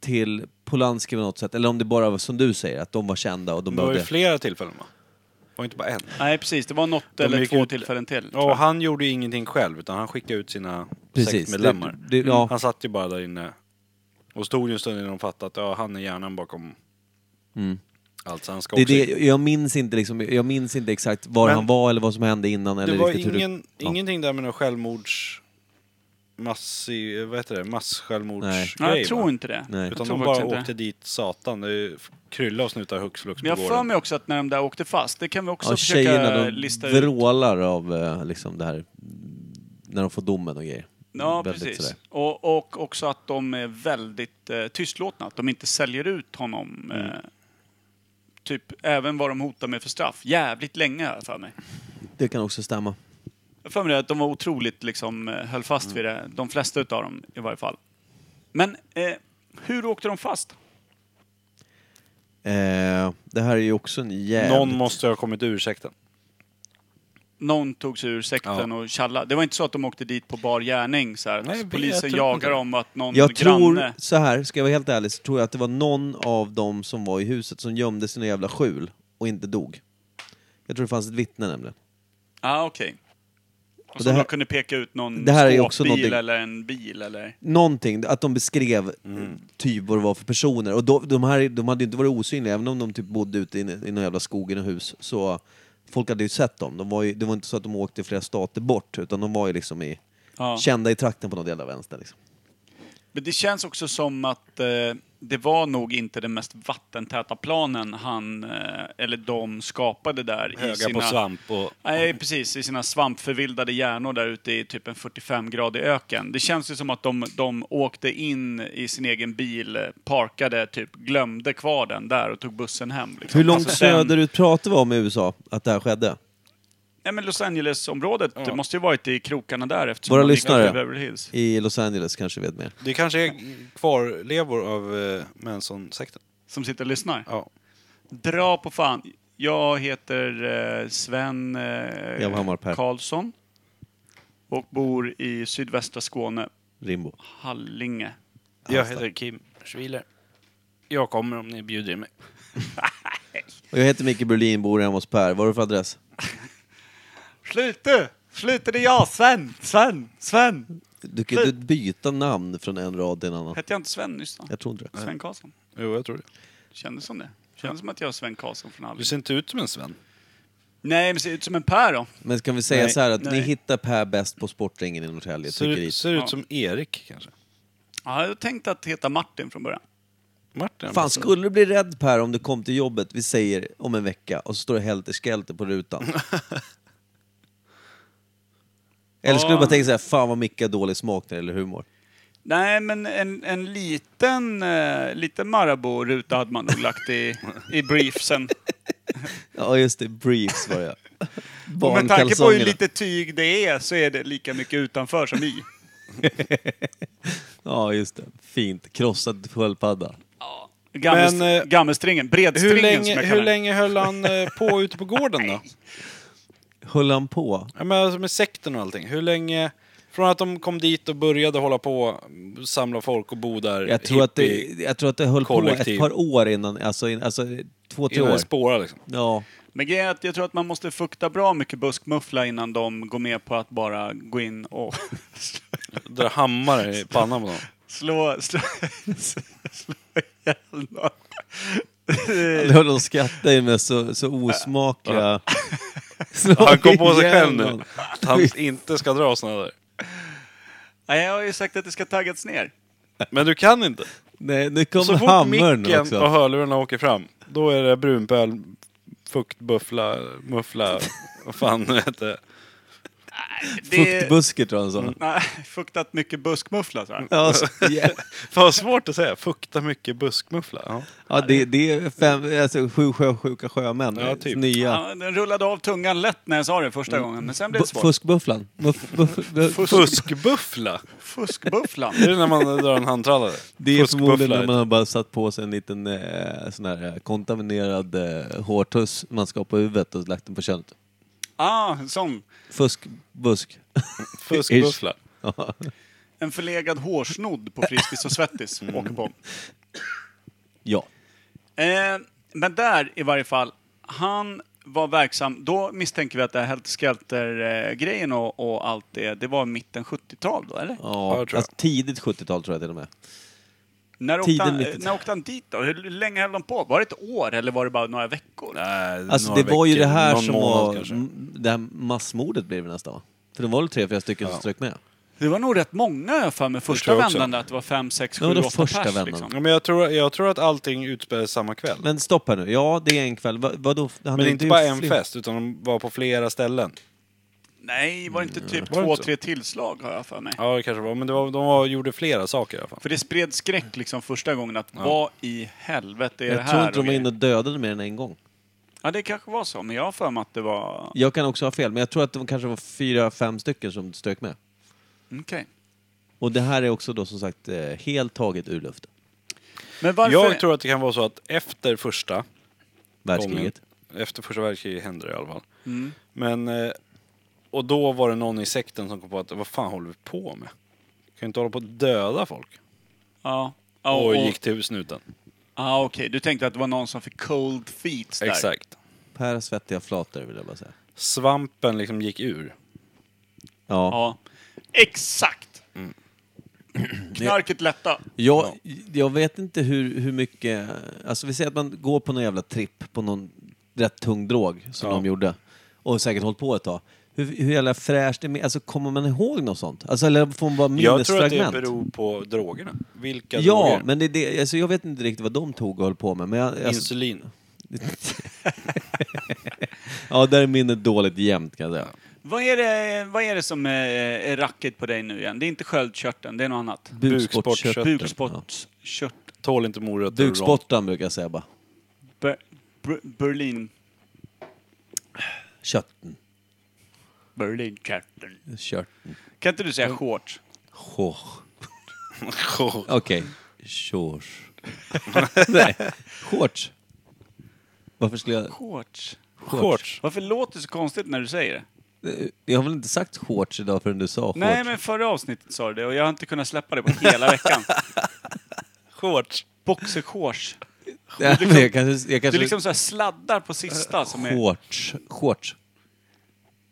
Speaker 2: till Polanski på något sätt, eller om det bara var som du säger, att de var kända och de
Speaker 1: det var ju
Speaker 2: behövde...
Speaker 1: flera tillfällen va? Det var inte bara en.
Speaker 3: Nej, precis. Det var något
Speaker 1: De
Speaker 3: eller
Speaker 1: gick
Speaker 3: två
Speaker 1: ut-
Speaker 3: tillfällen till. tror
Speaker 1: Ja, och
Speaker 3: jag.
Speaker 1: han gjorde ju ingenting själv utan han skickade ut sina
Speaker 2: Precis.
Speaker 1: sektmedlemmar.
Speaker 2: Det- det- ja.
Speaker 1: Han satt ju bara där inne och stod ju en stund innan de fattade att ja, han är hjärnan bakom Alltså han ska
Speaker 2: Mm. Det är
Speaker 1: också...
Speaker 2: det, jag, minns inte liksom, jag minns inte exakt var
Speaker 1: Men-
Speaker 2: han var eller vad som hände innan.
Speaker 1: det
Speaker 2: eller
Speaker 1: var
Speaker 2: riktigt hur
Speaker 1: ingen,
Speaker 2: ja.
Speaker 1: ingenting där med någon självmords... Massi, vad heter det? Mass-självmordsgrej
Speaker 3: Nej, jag
Speaker 1: va?
Speaker 3: tror inte det.
Speaker 2: Nej.
Speaker 3: Jag
Speaker 1: Utan
Speaker 3: tror
Speaker 1: de
Speaker 3: faktiskt
Speaker 1: bara
Speaker 3: inte det.
Speaker 1: åkte dit, satan. Det är ju krylla av snutar hux flux på
Speaker 3: Men jag har för
Speaker 1: gården.
Speaker 3: mig också att när de där åkte fast, det kan vi också
Speaker 2: Ja,
Speaker 3: försöka
Speaker 2: tjejerna
Speaker 3: lista
Speaker 2: de
Speaker 3: ut.
Speaker 2: vrålar av eh, liksom det här, när de får domen och grejer.
Speaker 3: Ja,
Speaker 2: Väldigt
Speaker 3: precis.
Speaker 2: sådär.
Speaker 3: Och, och också att de är väldigt eh, tystlåtna. Att de inte säljer ut honom.
Speaker 2: Mm.
Speaker 3: Eh, typ även vad de hotar med för straff. Jävligt länge har jag för mig.
Speaker 2: Det kan också stämma.
Speaker 3: Jag har för mig det att de var otroligt liksom eh, höll fast
Speaker 2: Mm.
Speaker 3: vid det. De flesta utav dem i varje fall. Men eh, hur åkte de fast?
Speaker 2: Eh, det här är ju också en jävligt...
Speaker 1: Någon måste ha kommit ur sekten.
Speaker 3: Någon tog sig ur sekten
Speaker 1: Ja.
Speaker 3: och tjallade. Det var inte så att de åkte dit på bar gärning så här.
Speaker 1: Nej, jag vet, jag
Speaker 3: Polisen
Speaker 1: tror inte
Speaker 3: jagar
Speaker 1: det.
Speaker 3: dem att någon
Speaker 2: jag tror,
Speaker 3: granne...
Speaker 2: så här, ska jag vara helt ärlig, så tror jag att det var någon av dem som var i huset som gömde sina jävla skjul och inte dog. Jag tror det fanns ett vittne nämligen.
Speaker 3: ah, okej. Och
Speaker 2: det
Speaker 3: som
Speaker 2: här-
Speaker 3: de kunde peka ut någon
Speaker 2: det här är ju
Speaker 3: skåpbil
Speaker 2: också någonting-
Speaker 3: eller en bil eller...
Speaker 2: Någonting, att de beskrev
Speaker 3: Mm.
Speaker 2: typ vad det var för personer. Och då, de här de hade ju inte varit osynliga, även om de typ bodde ute i, i någon jävla skog i något hus. Så folk hade ju sett dem. De var ju, det var inte så att de åkte flera stater bort, utan de var ju liksom i,
Speaker 3: Ja.
Speaker 2: kända i trakten på något jävla vänster. Liksom.
Speaker 3: Men det känns också som att eh, det var nog inte den mest vattentäta planen han, eh, eller de, skapade där i
Speaker 1: Höga
Speaker 3: sina...
Speaker 1: på svamp och...
Speaker 3: Nej, precis. I sina svampförvildade hjärnor där ute i typ en 45-gradig öken. Det känns ju som att de, de åkte in i sin egen bil, eh, parkade, typ glömde kvar den där och tog bussen hem. Liksom.
Speaker 2: Hur långt
Speaker 3: Alltså, den-
Speaker 2: söderut pratar vi om i USA att det här skedde?
Speaker 3: Nej, men Los Angeles-området det
Speaker 1: Ja.
Speaker 3: måste ju varit i krokarna där eftersom
Speaker 2: Våra
Speaker 3: de gick
Speaker 2: lyssnare.
Speaker 3: till Beverly Hills.
Speaker 2: I Los Angeles kanske vet mer.
Speaker 1: Det kanske är kvarlevor av eh, Manson-sekten.
Speaker 3: Som sitter och lyssnar.
Speaker 1: Ja.
Speaker 3: Dra på fan. Jag heter eh, Sven
Speaker 2: Evhammar Per.
Speaker 3: eh, Karlsson och bor i sydvästra Skåne,
Speaker 2: Rimbo.
Speaker 3: Hallinge.
Speaker 1: Jag heter Kim Schwiler. Jag kommer om ni bjuder in mig.
Speaker 2: Och jag heter Micke Berlin, bor hemma hos Per. Vad är det för adress?
Speaker 3: Slite! Slite det är jag! Sven! Sven! Sven!
Speaker 2: Du kan ju inte byta namn från en rad till en annan.
Speaker 3: Hette jag inte Sven nyss då?
Speaker 2: Jag tror inte det.
Speaker 3: Sven Karlsson.
Speaker 1: Jo, jag tror det.
Speaker 3: Kändes som det. Kändes som att jag är Sven Karlsson från
Speaker 1: Du
Speaker 3: Hallinge.
Speaker 1: ser inte ut som en Sven.
Speaker 3: Nej, men ser ut som en Per då.
Speaker 2: Men kan vi säga
Speaker 1: Nej.
Speaker 2: så här att ni
Speaker 3: Nej.
Speaker 2: hittar Per bäst på Sportringen i Norrtälje,
Speaker 1: Ser,
Speaker 2: tryckeriet.
Speaker 1: ut- ser
Speaker 3: Ja.
Speaker 1: ut som Erik kanske.
Speaker 3: Ja, jag tänkte att heta Martin från början.
Speaker 1: Martin? alltså.
Speaker 2: Fan, skulle du bli rädd Per om du kom till jobbet, vi säger om en vecka, och så står det helter skelter på rutan? Eller skulle du bara tänka så här, fan vad Micke har dålig smak när det gäller humor?
Speaker 3: Nej, men en, en liten, eh, liten Marabou-ruta hade man nog lagt i, i briefsen.
Speaker 2: Ja just det, briefs var det
Speaker 3: Och med tanke på hur
Speaker 2: Barnkalsongerna.
Speaker 3: lite tyg det är så är det lika mycket utanför som i.
Speaker 2: Ja just det, fint. Krossad sköldpadda.
Speaker 3: Gammel,
Speaker 1: Men, eh,
Speaker 3: gammelstringen, bredstringen
Speaker 1: Hur
Speaker 3: som
Speaker 1: länge,
Speaker 3: jag kallar
Speaker 1: hur
Speaker 3: den.
Speaker 1: länge höll han eh, på ute på gården då?
Speaker 2: Höll han på?
Speaker 1: Ja, men alltså med sekten och allting. Hur länge... Från att de kom dit och började hålla på, samla folk och bo där.
Speaker 2: Jag tror, att det,
Speaker 1: hippie-
Speaker 2: jag tror att det höll
Speaker 1: kollektiv.
Speaker 2: på ett par år innan, alltså, in, alltså två, tre
Speaker 1: innan det
Speaker 2: år.
Speaker 1: spårar liksom.
Speaker 2: Ja,
Speaker 3: Men grejen är att jag tror att man måste fukta bra mycket buskmuffla innan de går med på att bara gå in och
Speaker 1: Dra hammare i pannan på dem.
Speaker 3: slå, slå, slå ihjäl någon.
Speaker 1: Eh.
Speaker 2: det höll de skratta i med så, så osmakliga... Slå
Speaker 1: Han kom på sig
Speaker 2: ihjäl
Speaker 1: själv nu.
Speaker 2: någon.
Speaker 1: Att han inte ska dra såna där.
Speaker 3: Nej, jag har ju sagt att det ska taggas ner.
Speaker 1: Men du kan inte.
Speaker 2: Nej, nu kom
Speaker 1: Så fort
Speaker 2: hammaren
Speaker 1: micken och
Speaker 2: också.
Speaker 1: hörlurarna åker fram, då är det brunpöl, fuktbuffla, muffla, vad fan det heter.
Speaker 3: Det,
Speaker 2: Fuktbusker tror jag han
Speaker 1: Mm.
Speaker 2: sa.
Speaker 3: nej, fuktat mycket buskmuffla så här.
Speaker 2: Ja, så, ja.
Speaker 1: Fan vad svårt att säga, fukta mycket buskmuffla. Ja.
Speaker 2: ja det, det är fem, alltså, sju sjösjuka sjömän.
Speaker 1: Ja, typ.
Speaker 2: Nya.
Speaker 3: Ja, den rullade av tungan lätt när jag sa det första gången, men sen blev det
Speaker 2: Mm. Bu-
Speaker 3: svårt.
Speaker 2: Fuskbufflan. Muff, buff, buff,
Speaker 1: Fuskbuffla?
Speaker 3: Fuskbufflan.
Speaker 1: Det är när man drar en handtrallare.
Speaker 2: Det är förmodligen
Speaker 1: Fuskbuffla.
Speaker 2: när man har bara satt på sig en liten eh, sån här eh, kontaminerad eh, hårtuss man ska ha på huvudet och lagt den på könet.
Speaker 3: Ah, en sån.
Speaker 2: Fusk, busk.
Speaker 1: Fuskbuffla.
Speaker 2: Ja.
Speaker 3: En förlegad hårsnodd på Friskis och Svettis
Speaker 2: Mm.
Speaker 3: åker på.
Speaker 2: ja.
Speaker 3: Eh, men där i varje fall, han var verksam. Då misstänker vi att det här Helter Skelter-grejen och, och allt det, det var mitten 70-tal då, eller?
Speaker 1: jag tror
Speaker 2: alltså, tidigt 70-tal tror jag till och med.
Speaker 3: När åkte,
Speaker 2: Tiden
Speaker 3: han,
Speaker 2: lite.
Speaker 3: när åkte han dit då? Hur länge höll de på? Var det ett år eller var det bara några veckor?
Speaker 1: Nej,
Speaker 2: Alltså det
Speaker 1: några
Speaker 2: var ju
Speaker 1: veckor,
Speaker 2: det här
Speaker 1: någon
Speaker 2: som
Speaker 1: månad
Speaker 2: var...
Speaker 1: kanske.
Speaker 2: m- Det här massmordet blev det nästan va? För det var väl tre, fyra stycken som strök med?
Speaker 3: Det var nog rätt många jag har för mig. Första
Speaker 1: tror jag också.
Speaker 3: vändan där, att det var fem, sex, sju,
Speaker 2: Ja, det var
Speaker 3: åtta
Speaker 2: första
Speaker 3: pers.
Speaker 2: vändan.
Speaker 3: Liksom.
Speaker 1: Ja, men jag, tror, jag tror att allting utspelades samma kväll. Men,
Speaker 2: Men stopp här nu. Ja, det är en kväll. Va, vadå? Han har
Speaker 1: inte
Speaker 2: gjort
Speaker 1: bara en
Speaker 2: fler-
Speaker 1: fest, utan de var på flera ställen.
Speaker 3: Nej, var det
Speaker 2: Mm.
Speaker 3: inte typ
Speaker 1: Var det
Speaker 3: två,
Speaker 1: inte så?
Speaker 3: tre tillslag har jag för mig?
Speaker 1: Ja, det kanske var. Men det var, de var, gjorde flera saker i alla fall.
Speaker 3: För det spred skräck liksom första gången att vad i helvete är det
Speaker 2: Jag
Speaker 3: här?
Speaker 2: tror inte de var
Speaker 3: Och-
Speaker 2: inne och dödade mer än en gång.
Speaker 3: Ja, det kanske var så, men jag har för mig att det var...
Speaker 2: Jag kan också ha fel, men jag tror att det kanske var fyra, fem stycken som strök med.
Speaker 3: Okej.
Speaker 2: Och det här är också då som sagt eh, helt taget ur luften.
Speaker 3: Men varför...
Speaker 1: Jag tror att det kan vara så att efter första
Speaker 2: Världskriget.
Speaker 1: gången, efter första världskriget hände det i alla fall. Men, eh, och då var det någon i sekten som kom på att vad fan håller vi på med? Kan ju inte hålla på att döda folk.
Speaker 3: Ja. Ja,
Speaker 1: och
Speaker 3: och,
Speaker 1: gick till snuten.
Speaker 3: ah, okej. Du tänkte att det var någon som fick cold feet där?
Speaker 1: Exakt.
Speaker 2: Per svettiga flator vill jag bara säga.
Speaker 1: Svampen liksom gick ur.
Speaker 2: Ja.
Speaker 3: Ja. Exakt!
Speaker 1: Mm.
Speaker 3: Knarket lätta.
Speaker 2: Jag, jag vet inte hur, hur mycket... Alltså vi säger att man går på någon jävla tripp på någon rätt tung drog som
Speaker 1: Ja.
Speaker 2: de gjorde. Och säkert hållit på ett tag. Hur, hur jävla fräscht är det? Alltså kommer man ihåg något sånt? Alltså, eller får man bara
Speaker 1: Jag tror att
Speaker 2: minnesfragment?
Speaker 1: det beror på drogerna. Vilka
Speaker 2: Ja,
Speaker 1: droger?
Speaker 2: men det, är det, alltså, jag vet inte riktigt vad de tog och höll på med. Men jag, alltså,
Speaker 1: Insulin.
Speaker 2: ja, där är minnet dåligt jämnt kan jag säga.
Speaker 3: Vad är, det, vad är det som är, är racket på dig nu igen? Det är inte sköldkörteln, det är något annat.
Speaker 1: Bukspottkörteln.
Speaker 2: Bukspottkörteln. Ja.
Speaker 3: Bukspottkört...
Speaker 1: Tål inte morötter och rom.
Speaker 2: Bukspottan brukar jag säga bara.
Speaker 3: Ber, Ber- Berlin...
Speaker 2: Kötten.
Speaker 3: Berlinkörteln.
Speaker 2: Körten.
Speaker 3: Kan inte du säga shorts?
Speaker 2: Sjås. Okej. Shorts. Nej. Shorts. Varför skulle jag...
Speaker 3: Shorts?
Speaker 1: Shorts.
Speaker 3: Varför låter det så konstigt när du säger det?
Speaker 2: Eh, Jag har väl inte sagt shorts idag förrän du sa shorts?
Speaker 3: Nej, men förra avsnittet sa du det och jag har inte kunnat släppa det på hela veckan.
Speaker 1: Shorts.
Speaker 3: Boxershorts.
Speaker 2: Nej, men jag kanske...
Speaker 3: Du
Speaker 2: Jag kanske
Speaker 3: liksom så här sladdar på sista som är
Speaker 2: Shorts. Shorts.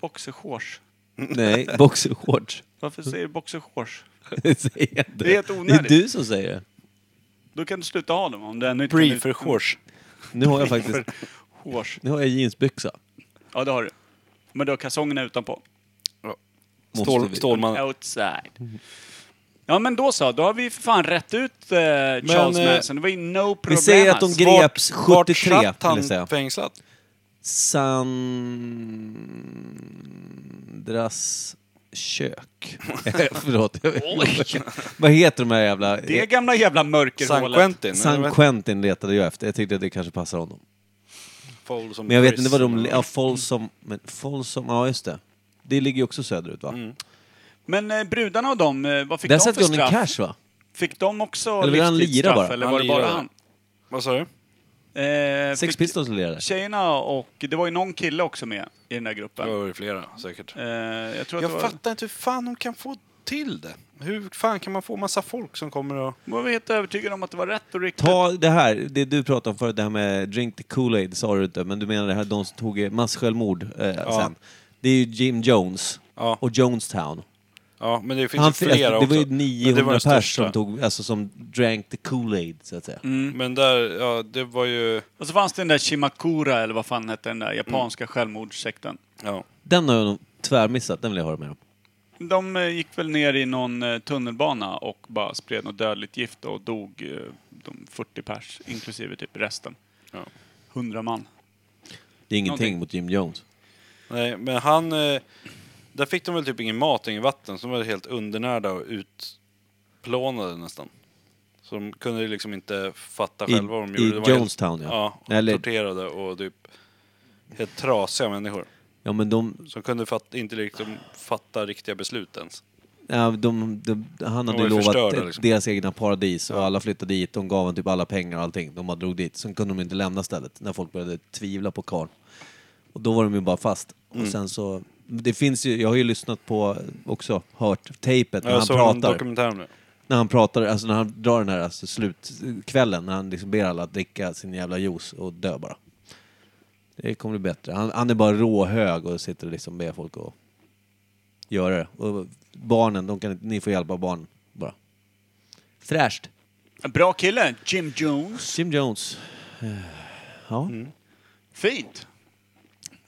Speaker 3: boxershorts.
Speaker 2: Nej, boxershorts.
Speaker 3: Varför säger du boxershorts?
Speaker 2: Det säger jag inte.
Speaker 3: Det är helt onödigt.
Speaker 2: Det är du som säger det.
Speaker 3: Då kan du sluta ha dem om du ännu inte kan ut-
Speaker 1: Briefer shorts.
Speaker 2: Nu har jag faktiskt...
Speaker 3: Shorts.
Speaker 2: Nu har jag jeansbyxa.
Speaker 3: Ja, det har du. Men du har kalsongerna utanpå.
Speaker 2: Måste
Speaker 1: Stål,
Speaker 2: vi-
Speaker 1: Stålman.
Speaker 3: Outside. Ja, men då så. Då har vi för fan rätt ut eh, Charles
Speaker 1: eh,
Speaker 3: Manson. Det var ju no problem.
Speaker 2: Vi säger att de
Speaker 3: alls.
Speaker 2: greps
Speaker 1: Vart
Speaker 2: 73, vill
Speaker 1: satt
Speaker 2: jag säga.
Speaker 1: han fängslad?
Speaker 2: Sandras kök. Förlåt. jag vet inte. Vad heter de här jävla...
Speaker 3: Det gamla jävla
Speaker 1: San
Speaker 3: mörkerhålet.
Speaker 1: Quentin?
Speaker 2: San Quentin letade jag efter. Jag tyckte att det kanske passar honom.
Speaker 1: Quentin.
Speaker 2: Men jag vet inte vad de... Ja, Folsom... Men Folsom... Ja, just det. Det ligger ju också söderut, va?
Speaker 1: Mm.
Speaker 3: Men eh, brudarna och dem, eh, vad fick
Speaker 2: Där
Speaker 3: de
Speaker 2: satte
Speaker 3: för
Speaker 2: Johnny
Speaker 3: straff?
Speaker 2: Cash, va?
Speaker 3: Fick de också
Speaker 2: Eller vill han lira
Speaker 3: livstidsstraff,
Speaker 2: bara?
Speaker 3: Eller
Speaker 1: Han
Speaker 3: var det bara
Speaker 1: lirar.
Speaker 3: han?
Speaker 1: Vad sa du?
Speaker 3: Eh,
Speaker 2: Sex
Speaker 3: fick
Speaker 2: Pistols lirade.
Speaker 3: tjejerna och... Det var ju någon kille också med i den där gruppen.
Speaker 1: Det var väl flera säkert.
Speaker 3: Eh, jag tror att det
Speaker 1: Jag
Speaker 3: var...
Speaker 1: fattar inte hur fan de kan få till det. Hur fan kan man få massa folk som kommer och...
Speaker 3: Jag var helt övertygad om att det var rätt och riktigt.
Speaker 2: Ta det här, det du pratade om förut, det här med drink the Kool-Aid sa du inte, men du menar det här de som tog massjälvmord eh, sen. Det är ju Jim Jones
Speaker 1: Ja.
Speaker 2: och Jonestown.
Speaker 1: Ja, men det finns
Speaker 2: Han,
Speaker 1: ju flera
Speaker 2: det var ju
Speaker 1: också. Men det var
Speaker 2: 900
Speaker 1: den
Speaker 2: pers
Speaker 1: största. Mm.
Speaker 2: som tog, alltså som drank the Kool-Aid så att säga.
Speaker 1: Men där, ja, det var ju...
Speaker 3: Och så fanns det den där Shimakura, eller vad fan hette den där
Speaker 1: Mm.
Speaker 3: japanska självmordssekten.
Speaker 1: Ja.
Speaker 2: Den har jag nog tvärmissat, den vill jag höra mer om.
Speaker 3: De eh, gick väl ner i någon eh, tunnelbana och bara spred något dödligt gift och dog eh, de 40 pers, inklusive typ resten.
Speaker 1: Ja.
Speaker 3: 100 man.
Speaker 2: Det är ingenting
Speaker 3: Någonting.
Speaker 2: mot Jim Jones.
Speaker 1: Nej, men han... eh, Där fick de väl typ ingen mat och ingen vatten, så de var helt undernärda och utplånade nästan. Så de kunde ju liksom inte fatta
Speaker 2: I-
Speaker 1: själva vad de
Speaker 2: i
Speaker 1: gjorde. Det var helt-
Speaker 2: Jonestown, ja.
Speaker 1: Ja,
Speaker 2: Eller-
Speaker 1: Eller... torterade och typ helt trasiga människor.
Speaker 2: Ja men de,
Speaker 1: Som kunde fatta, inte liksom fatta riktiga beslut ens.
Speaker 2: ja, de, de han hade
Speaker 1: var
Speaker 2: ju
Speaker 1: ju
Speaker 2: lovat
Speaker 1: förstörda,
Speaker 2: eh,
Speaker 1: liksom.
Speaker 2: deras egna paradis och alla flyttade dit, de gav en typ alla pengar och allting, de bara drog dit. Sen kunde de inte lämna stället när folk började tvivla på karln. Och då var de ju bara fast.
Speaker 1: Mm.
Speaker 2: Och sen så, det finns ju, jag har ju lyssnat på, också hört, tejpet när
Speaker 1: jag
Speaker 2: han
Speaker 1: såg en
Speaker 2: pratar.
Speaker 1: dokumentär Alltså, om det.
Speaker 2: När han pratar, alltså när han drar den här alltså, slutkvällen, när han liksom ber alla att dricka sin jävla juice och dö bara. Det kommer bli bättre. Han, han är bara råhög och sitter och liksom ber folk att göra det. Och barnen, de kan, inte- ni får hjälpa barnen bara. Fräscht.
Speaker 3: En bra kille, Jim Jones.
Speaker 2: Jim Jones. Eh, Ja.
Speaker 3: Mm. Fint.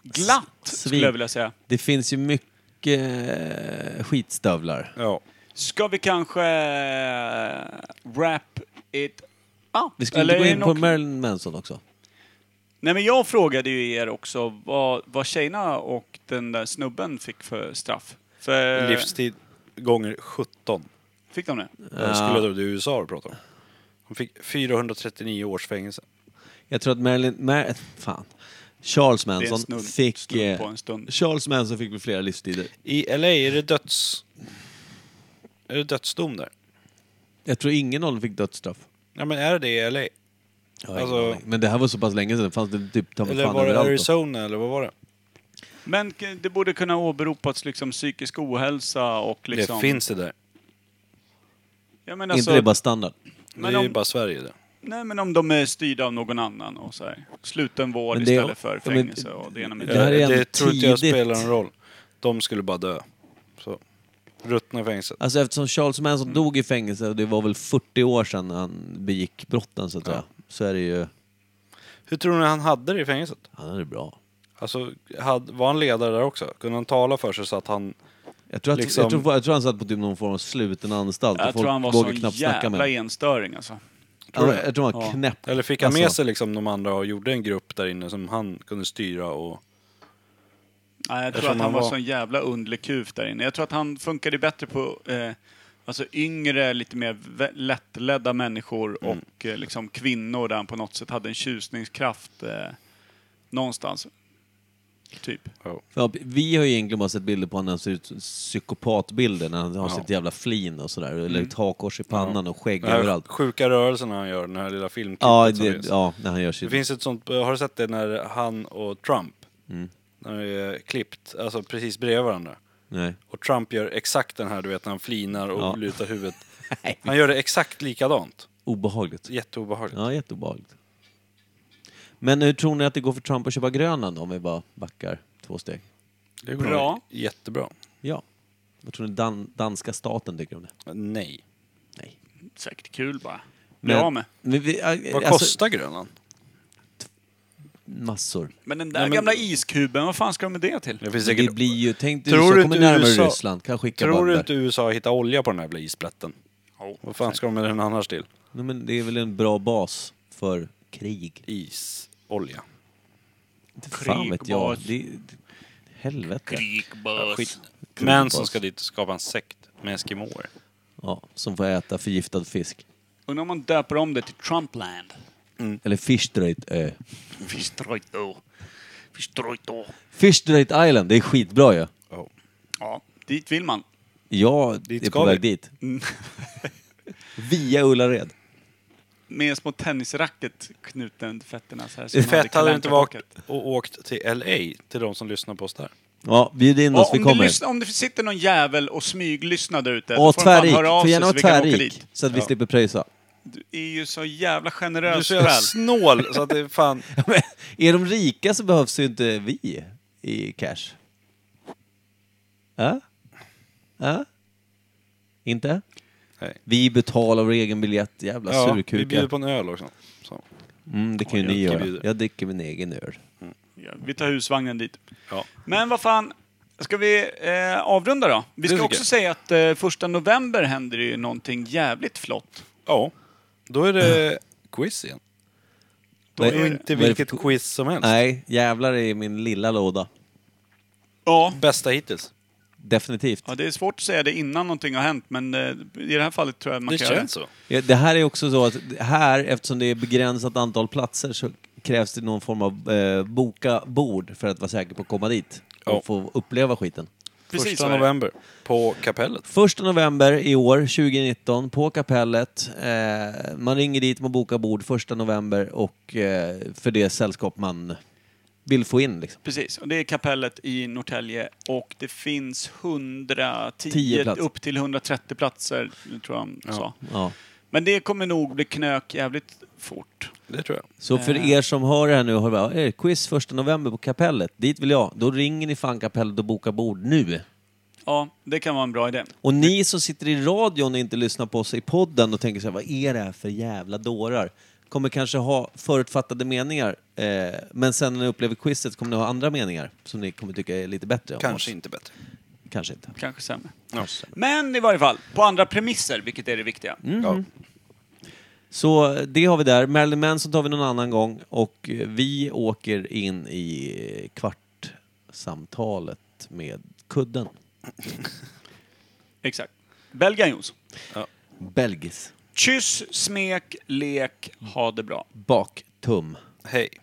Speaker 3: Glatt,
Speaker 2: Svin.
Speaker 3: skulle jag vilja säga.
Speaker 2: Det finns ju mycket eh, skitstövlar.
Speaker 1: Ja.
Speaker 3: Ska vi kanske eh, wrap it up?
Speaker 2: Vi skulle
Speaker 3: Eller
Speaker 2: inte gå
Speaker 3: är
Speaker 2: in
Speaker 3: det
Speaker 2: på
Speaker 3: något-
Speaker 2: Marilyn Manson också.
Speaker 3: Nej, men jag frågade ju er också vad, vad tjejerna och den där snubben fick för straff.
Speaker 2: Eh.
Speaker 3: För,
Speaker 1: Livstid gånger 17.
Speaker 3: Fick de det?
Speaker 1: Jag skulle tro det är USA du pratar om. Hon fick 439 års fängelse.
Speaker 2: Jag tror att Marilyn... Mar fan. Charles
Speaker 3: Det är en
Speaker 2: Manson
Speaker 3: snudd,
Speaker 2: fick...
Speaker 3: snudd på
Speaker 2: eh,
Speaker 3: en stund.
Speaker 2: Charles Manson fick väl flera livstider.
Speaker 1: I LA är det döds... Är det dödsdom där?
Speaker 2: Jag tror ingen av dem fick dödsstraff.
Speaker 1: Ja men är det det i LA?
Speaker 2: Jag har
Speaker 1: Alltså-
Speaker 2: ingen aning. Men det här var så pass länge sedan. Fanns det typ ta mig
Speaker 1: Eller
Speaker 2: fan
Speaker 1: var det
Speaker 2: överallt då.
Speaker 1: Arizona eller vad var det?
Speaker 3: Men k- det borde kunna åberopats liksom psykisk ohälsa och liksom...
Speaker 1: Det finns det där.
Speaker 3: Jag menar
Speaker 2: Inte
Speaker 3: så,
Speaker 2: det bara standard?
Speaker 3: Men
Speaker 1: det är ju
Speaker 3: om-
Speaker 1: bara Sverige det.
Speaker 3: Nej, men om de är styrda av någon annan och så här. Slutenvård
Speaker 2: Men det-
Speaker 3: istället för
Speaker 2: ja, men-
Speaker 3: fängelse och det ena med
Speaker 2: Det här är
Speaker 1: Eh, det
Speaker 2: ändå
Speaker 1: tror inte jag
Speaker 2: tidigt.
Speaker 1: spelar någon roll. De skulle bara dö. Så. Ruttna i fängelset.
Speaker 2: Alltså eftersom Charles Manson dog i fängelse, och det var väl 40 år sedan han begick brotten så att säga. Så är det ju...
Speaker 1: Hur tror ni han hade det i fängelset?
Speaker 2: Han är det bra.
Speaker 1: Alltså, hade, var han ledare där också? Kunde han tala för sig så att han...
Speaker 2: Jag tror, att,
Speaker 1: Liksom-
Speaker 2: jag, tror, jag tror han satt på typ någon form av sluten anstalt. och
Speaker 3: Jag tror
Speaker 2: folk
Speaker 3: han var
Speaker 2: vågar
Speaker 3: sån
Speaker 2: knappt snacka med
Speaker 3: jävla
Speaker 2: honom.
Speaker 3: enstöring alltså.
Speaker 2: Han var- Jag tror han var
Speaker 3: Ja.
Speaker 2: knäpp.
Speaker 1: Eller fick han med
Speaker 2: Alltså.
Speaker 1: sig liksom de andra och gjorde en grupp där inne som han kunde styra och...
Speaker 3: Nej, jag tror
Speaker 1: tror
Speaker 3: att han
Speaker 1: han
Speaker 3: var
Speaker 1: var-
Speaker 3: sån jävla underlig kuf där inne. Jag tror att han funkade bättre på eh, alltså yngre, lite mer vä- lättledda människor
Speaker 1: Mm.
Speaker 3: och eh, liksom kvinnor där han på något sätt hade en tjusningskraft eh, någonstans. Typ.
Speaker 2: Ja, vi har ju egentligen bara sett bilder på honom när han ser ut som psykopatbilder, när han har
Speaker 1: Ja. Mm.
Speaker 2: sitt jävla flin och sådär, eller ett hakkors i pannan och skägg
Speaker 1: De här
Speaker 2: överallt.
Speaker 1: sjuka rörelserna han gör, den här lilla filmklippet
Speaker 2: Ja,
Speaker 1: som
Speaker 2: det,
Speaker 1: finns.
Speaker 2: ja, när han gör
Speaker 1: Det
Speaker 2: sitt...
Speaker 1: finns ett sånt, har du sett det när han och Trump,
Speaker 2: Mm.
Speaker 1: när de är klippt, alltså precis bredvid varandra.
Speaker 2: Nej.
Speaker 1: Och Trump gör exakt den här, du vet när han flinar och
Speaker 2: Ja.
Speaker 1: lutar huvudet. Han gör det exakt likadant.
Speaker 2: Obehagligt.
Speaker 1: Jätteobehagligt.
Speaker 2: Ja, jätteobehagligt. Men hur tror ni att det går för Trump att köpa Grönland om vi bara backar två steg?
Speaker 1: Det
Speaker 3: går
Speaker 1: går
Speaker 3: bra.
Speaker 1: bra. Jättebra.
Speaker 2: Ja. Vad tror ni dan danska staten tycker om det?
Speaker 1: Nej.
Speaker 2: Nej.
Speaker 3: Säkert kul bara. Bli av med.
Speaker 2: Men vi, äh,
Speaker 1: Vad
Speaker 2: alltså,
Speaker 1: kostar Grönland?
Speaker 2: Massor.
Speaker 3: Men den där
Speaker 1: Nej, men-
Speaker 3: gamla iskuben, vad fan ska de med det till?
Speaker 1: Det finns
Speaker 2: Men
Speaker 1: säkert...
Speaker 2: Det blir ju, tänk dig
Speaker 1: Tror
Speaker 2: USA
Speaker 1: du
Speaker 2: kommer
Speaker 1: inte
Speaker 2: närmare
Speaker 1: USA
Speaker 2: Ryssland, kan skicka
Speaker 1: Tror du
Speaker 2: bandar.
Speaker 1: inte USA hittar olja på den här jävla isplätten?
Speaker 3: Jo,
Speaker 1: Vad fan ska de med den annars till?
Speaker 2: Nej, men det är väl en bra bas för krig?
Speaker 1: Isolja.
Speaker 2: Inte fan vet jag.
Speaker 3: Krigbas.
Speaker 2: Det, det, helvete.
Speaker 3: Krigbuss.
Speaker 1: Skit. Män som ska dit och skapa en sekt med eskimåer.
Speaker 2: Ja, som får äta förgiftad fisk.
Speaker 3: Undrar om man döper om det till Trumpland.
Speaker 2: Eller eh, Fishdreit-ö.
Speaker 3: Fistrojto. Fistrojto.
Speaker 2: Fishdreit Island, det är skitbra ju. Ja.
Speaker 1: Oh.
Speaker 3: Ja, dit vill man.
Speaker 2: Jag
Speaker 1: Dit
Speaker 2: är
Speaker 1: ska
Speaker 2: på
Speaker 1: vi.
Speaker 2: väg dit.
Speaker 3: Mm.
Speaker 2: Via Ullared.
Speaker 3: Med små tennisracket knuten under fötterna. Så här,
Speaker 1: Det
Speaker 3: som
Speaker 1: är fett hade det inte varit
Speaker 3: kalanka-rocket.
Speaker 1: och åkt till LA, till de som lyssnar på oss där.
Speaker 2: Ja, bjud in
Speaker 3: Ja,
Speaker 2: oss, vi
Speaker 3: om, det
Speaker 2: kommer.
Speaker 3: lyssnar, om det sitter någon jävel och smyglyssnar där ute, då
Speaker 2: Och
Speaker 3: får de
Speaker 2: tvärrik.
Speaker 3: fan höra av
Speaker 2: Får
Speaker 3: sig så
Speaker 2: gärna vara
Speaker 3: vi kan åka dit.
Speaker 2: tvärrik, så att vi
Speaker 1: Ja.
Speaker 2: slipper pröjsa.
Speaker 3: Du är ju så jävla
Speaker 1: Du är
Speaker 3: generös
Speaker 1: så
Speaker 3: själ.
Speaker 1: jävla snål så att det är fan...
Speaker 2: är de rika så behövs ju inte vi i cash. Ja? Ja? Inte?
Speaker 1: Nej.
Speaker 2: Vi betalar vår egen biljett, jävla
Speaker 1: Ja, vi
Speaker 2: surkukar.
Speaker 1: bjuder på en öl också. Så.
Speaker 2: Mm, det kan ju
Speaker 1: Ja,
Speaker 2: ni
Speaker 1: jag
Speaker 2: göra.
Speaker 1: bjuder.
Speaker 2: Jag dricker min egen öl.
Speaker 3: Ja, vi tar husvagnen dit.
Speaker 1: Ja.
Speaker 3: Men vad fan, ska vi eh, avrunda då? Vi ska
Speaker 1: tycker
Speaker 3: också
Speaker 1: jag.
Speaker 3: säga att eh, första november händer det ju någonting jävligt flott.
Speaker 1: ja. Då är det quiz igen. Då
Speaker 2: Nej,
Speaker 1: är det inte
Speaker 2: vad är det
Speaker 1: vilket
Speaker 2: för-
Speaker 1: quiz som helst.
Speaker 2: Nej, jävlar är min lilla låda.
Speaker 3: Ja.
Speaker 1: Bästa hittills.
Speaker 2: Definitivt.
Speaker 3: ja, det är svårt att säga det innan någonting har hänt, men eh, i det här fallet tror jag man
Speaker 1: det
Speaker 3: kan göra det.
Speaker 1: känns så.
Speaker 2: Ja, Det här är också så att här, eftersom det är begränsat antal platser, så krävs det någon form av eh, boka bord för att vara säker på att komma dit och
Speaker 1: Ja.
Speaker 2: få uppleva skiten.
Speaker 3: Precis så
Speaker 1: Första
Speaker 3: är det.
Speaker 1: november på kapellet.
Speaker 2: Första november i år, 2019, på kapellet. Eh, man ringer dit, man bokar bord första november och eh, för det sällskap man vill få in. Liksom.
Speaker 3: Precis, och det är kapellet i Norrtälje och det finns 110,
Speaker 2: Tio platser.
Speaker 3: upp till 130 platser, tror jag han sa.
Speaker 2: Ja.
Speaker 3: Men det kommer nog bli knök jävligt fort.
Speaker 1: Det tror jag.
Speaker 2: Så för
Speaker 3: Eh.
Speaker 2: er som hör det här nu och hör bara, "Eh, quiz första november på kapellet, dit vill jag. Då ringer ni fan kapellet och bokar bord nu.
Speaker 3: Ja, det kan vara en bra idé.
Speaker 2: Och ni som sitter i radion och inte lyssnar på oss i podden och tänker så här, vad är det här för jävla dårar? Kommer kanske ha förutfattade meningar, eh, men sen när ni upplever quizet kommer ni ha andra meningar som ni kommer tycka är lite bättre. om
Speaker 1: Kanske
Speaker 2: oss.
Speaker 1: inte bättre.
Speaker 2: Kanske inte.
Speaker 3: Kanske sämre.
Speaker 1: Ja.
Speaker 3: Men i varje fall, på andra premisser, vilket är det viktiga.
Speaker 1: Ja.
Speaker 2: Så eh, det har vi där. Marilyn Manson tar vi någon annan gång och eh, vi åker in i eh, kvartsamtalet med kudden.
Speaker 3: Exakt. Belgien Jonsson.
Speaker 2: Belgis.
Speaker 3: Kyss, smek, lek, ha det bra.
Speaker 2: Baktum.
Speaker 1: Hej.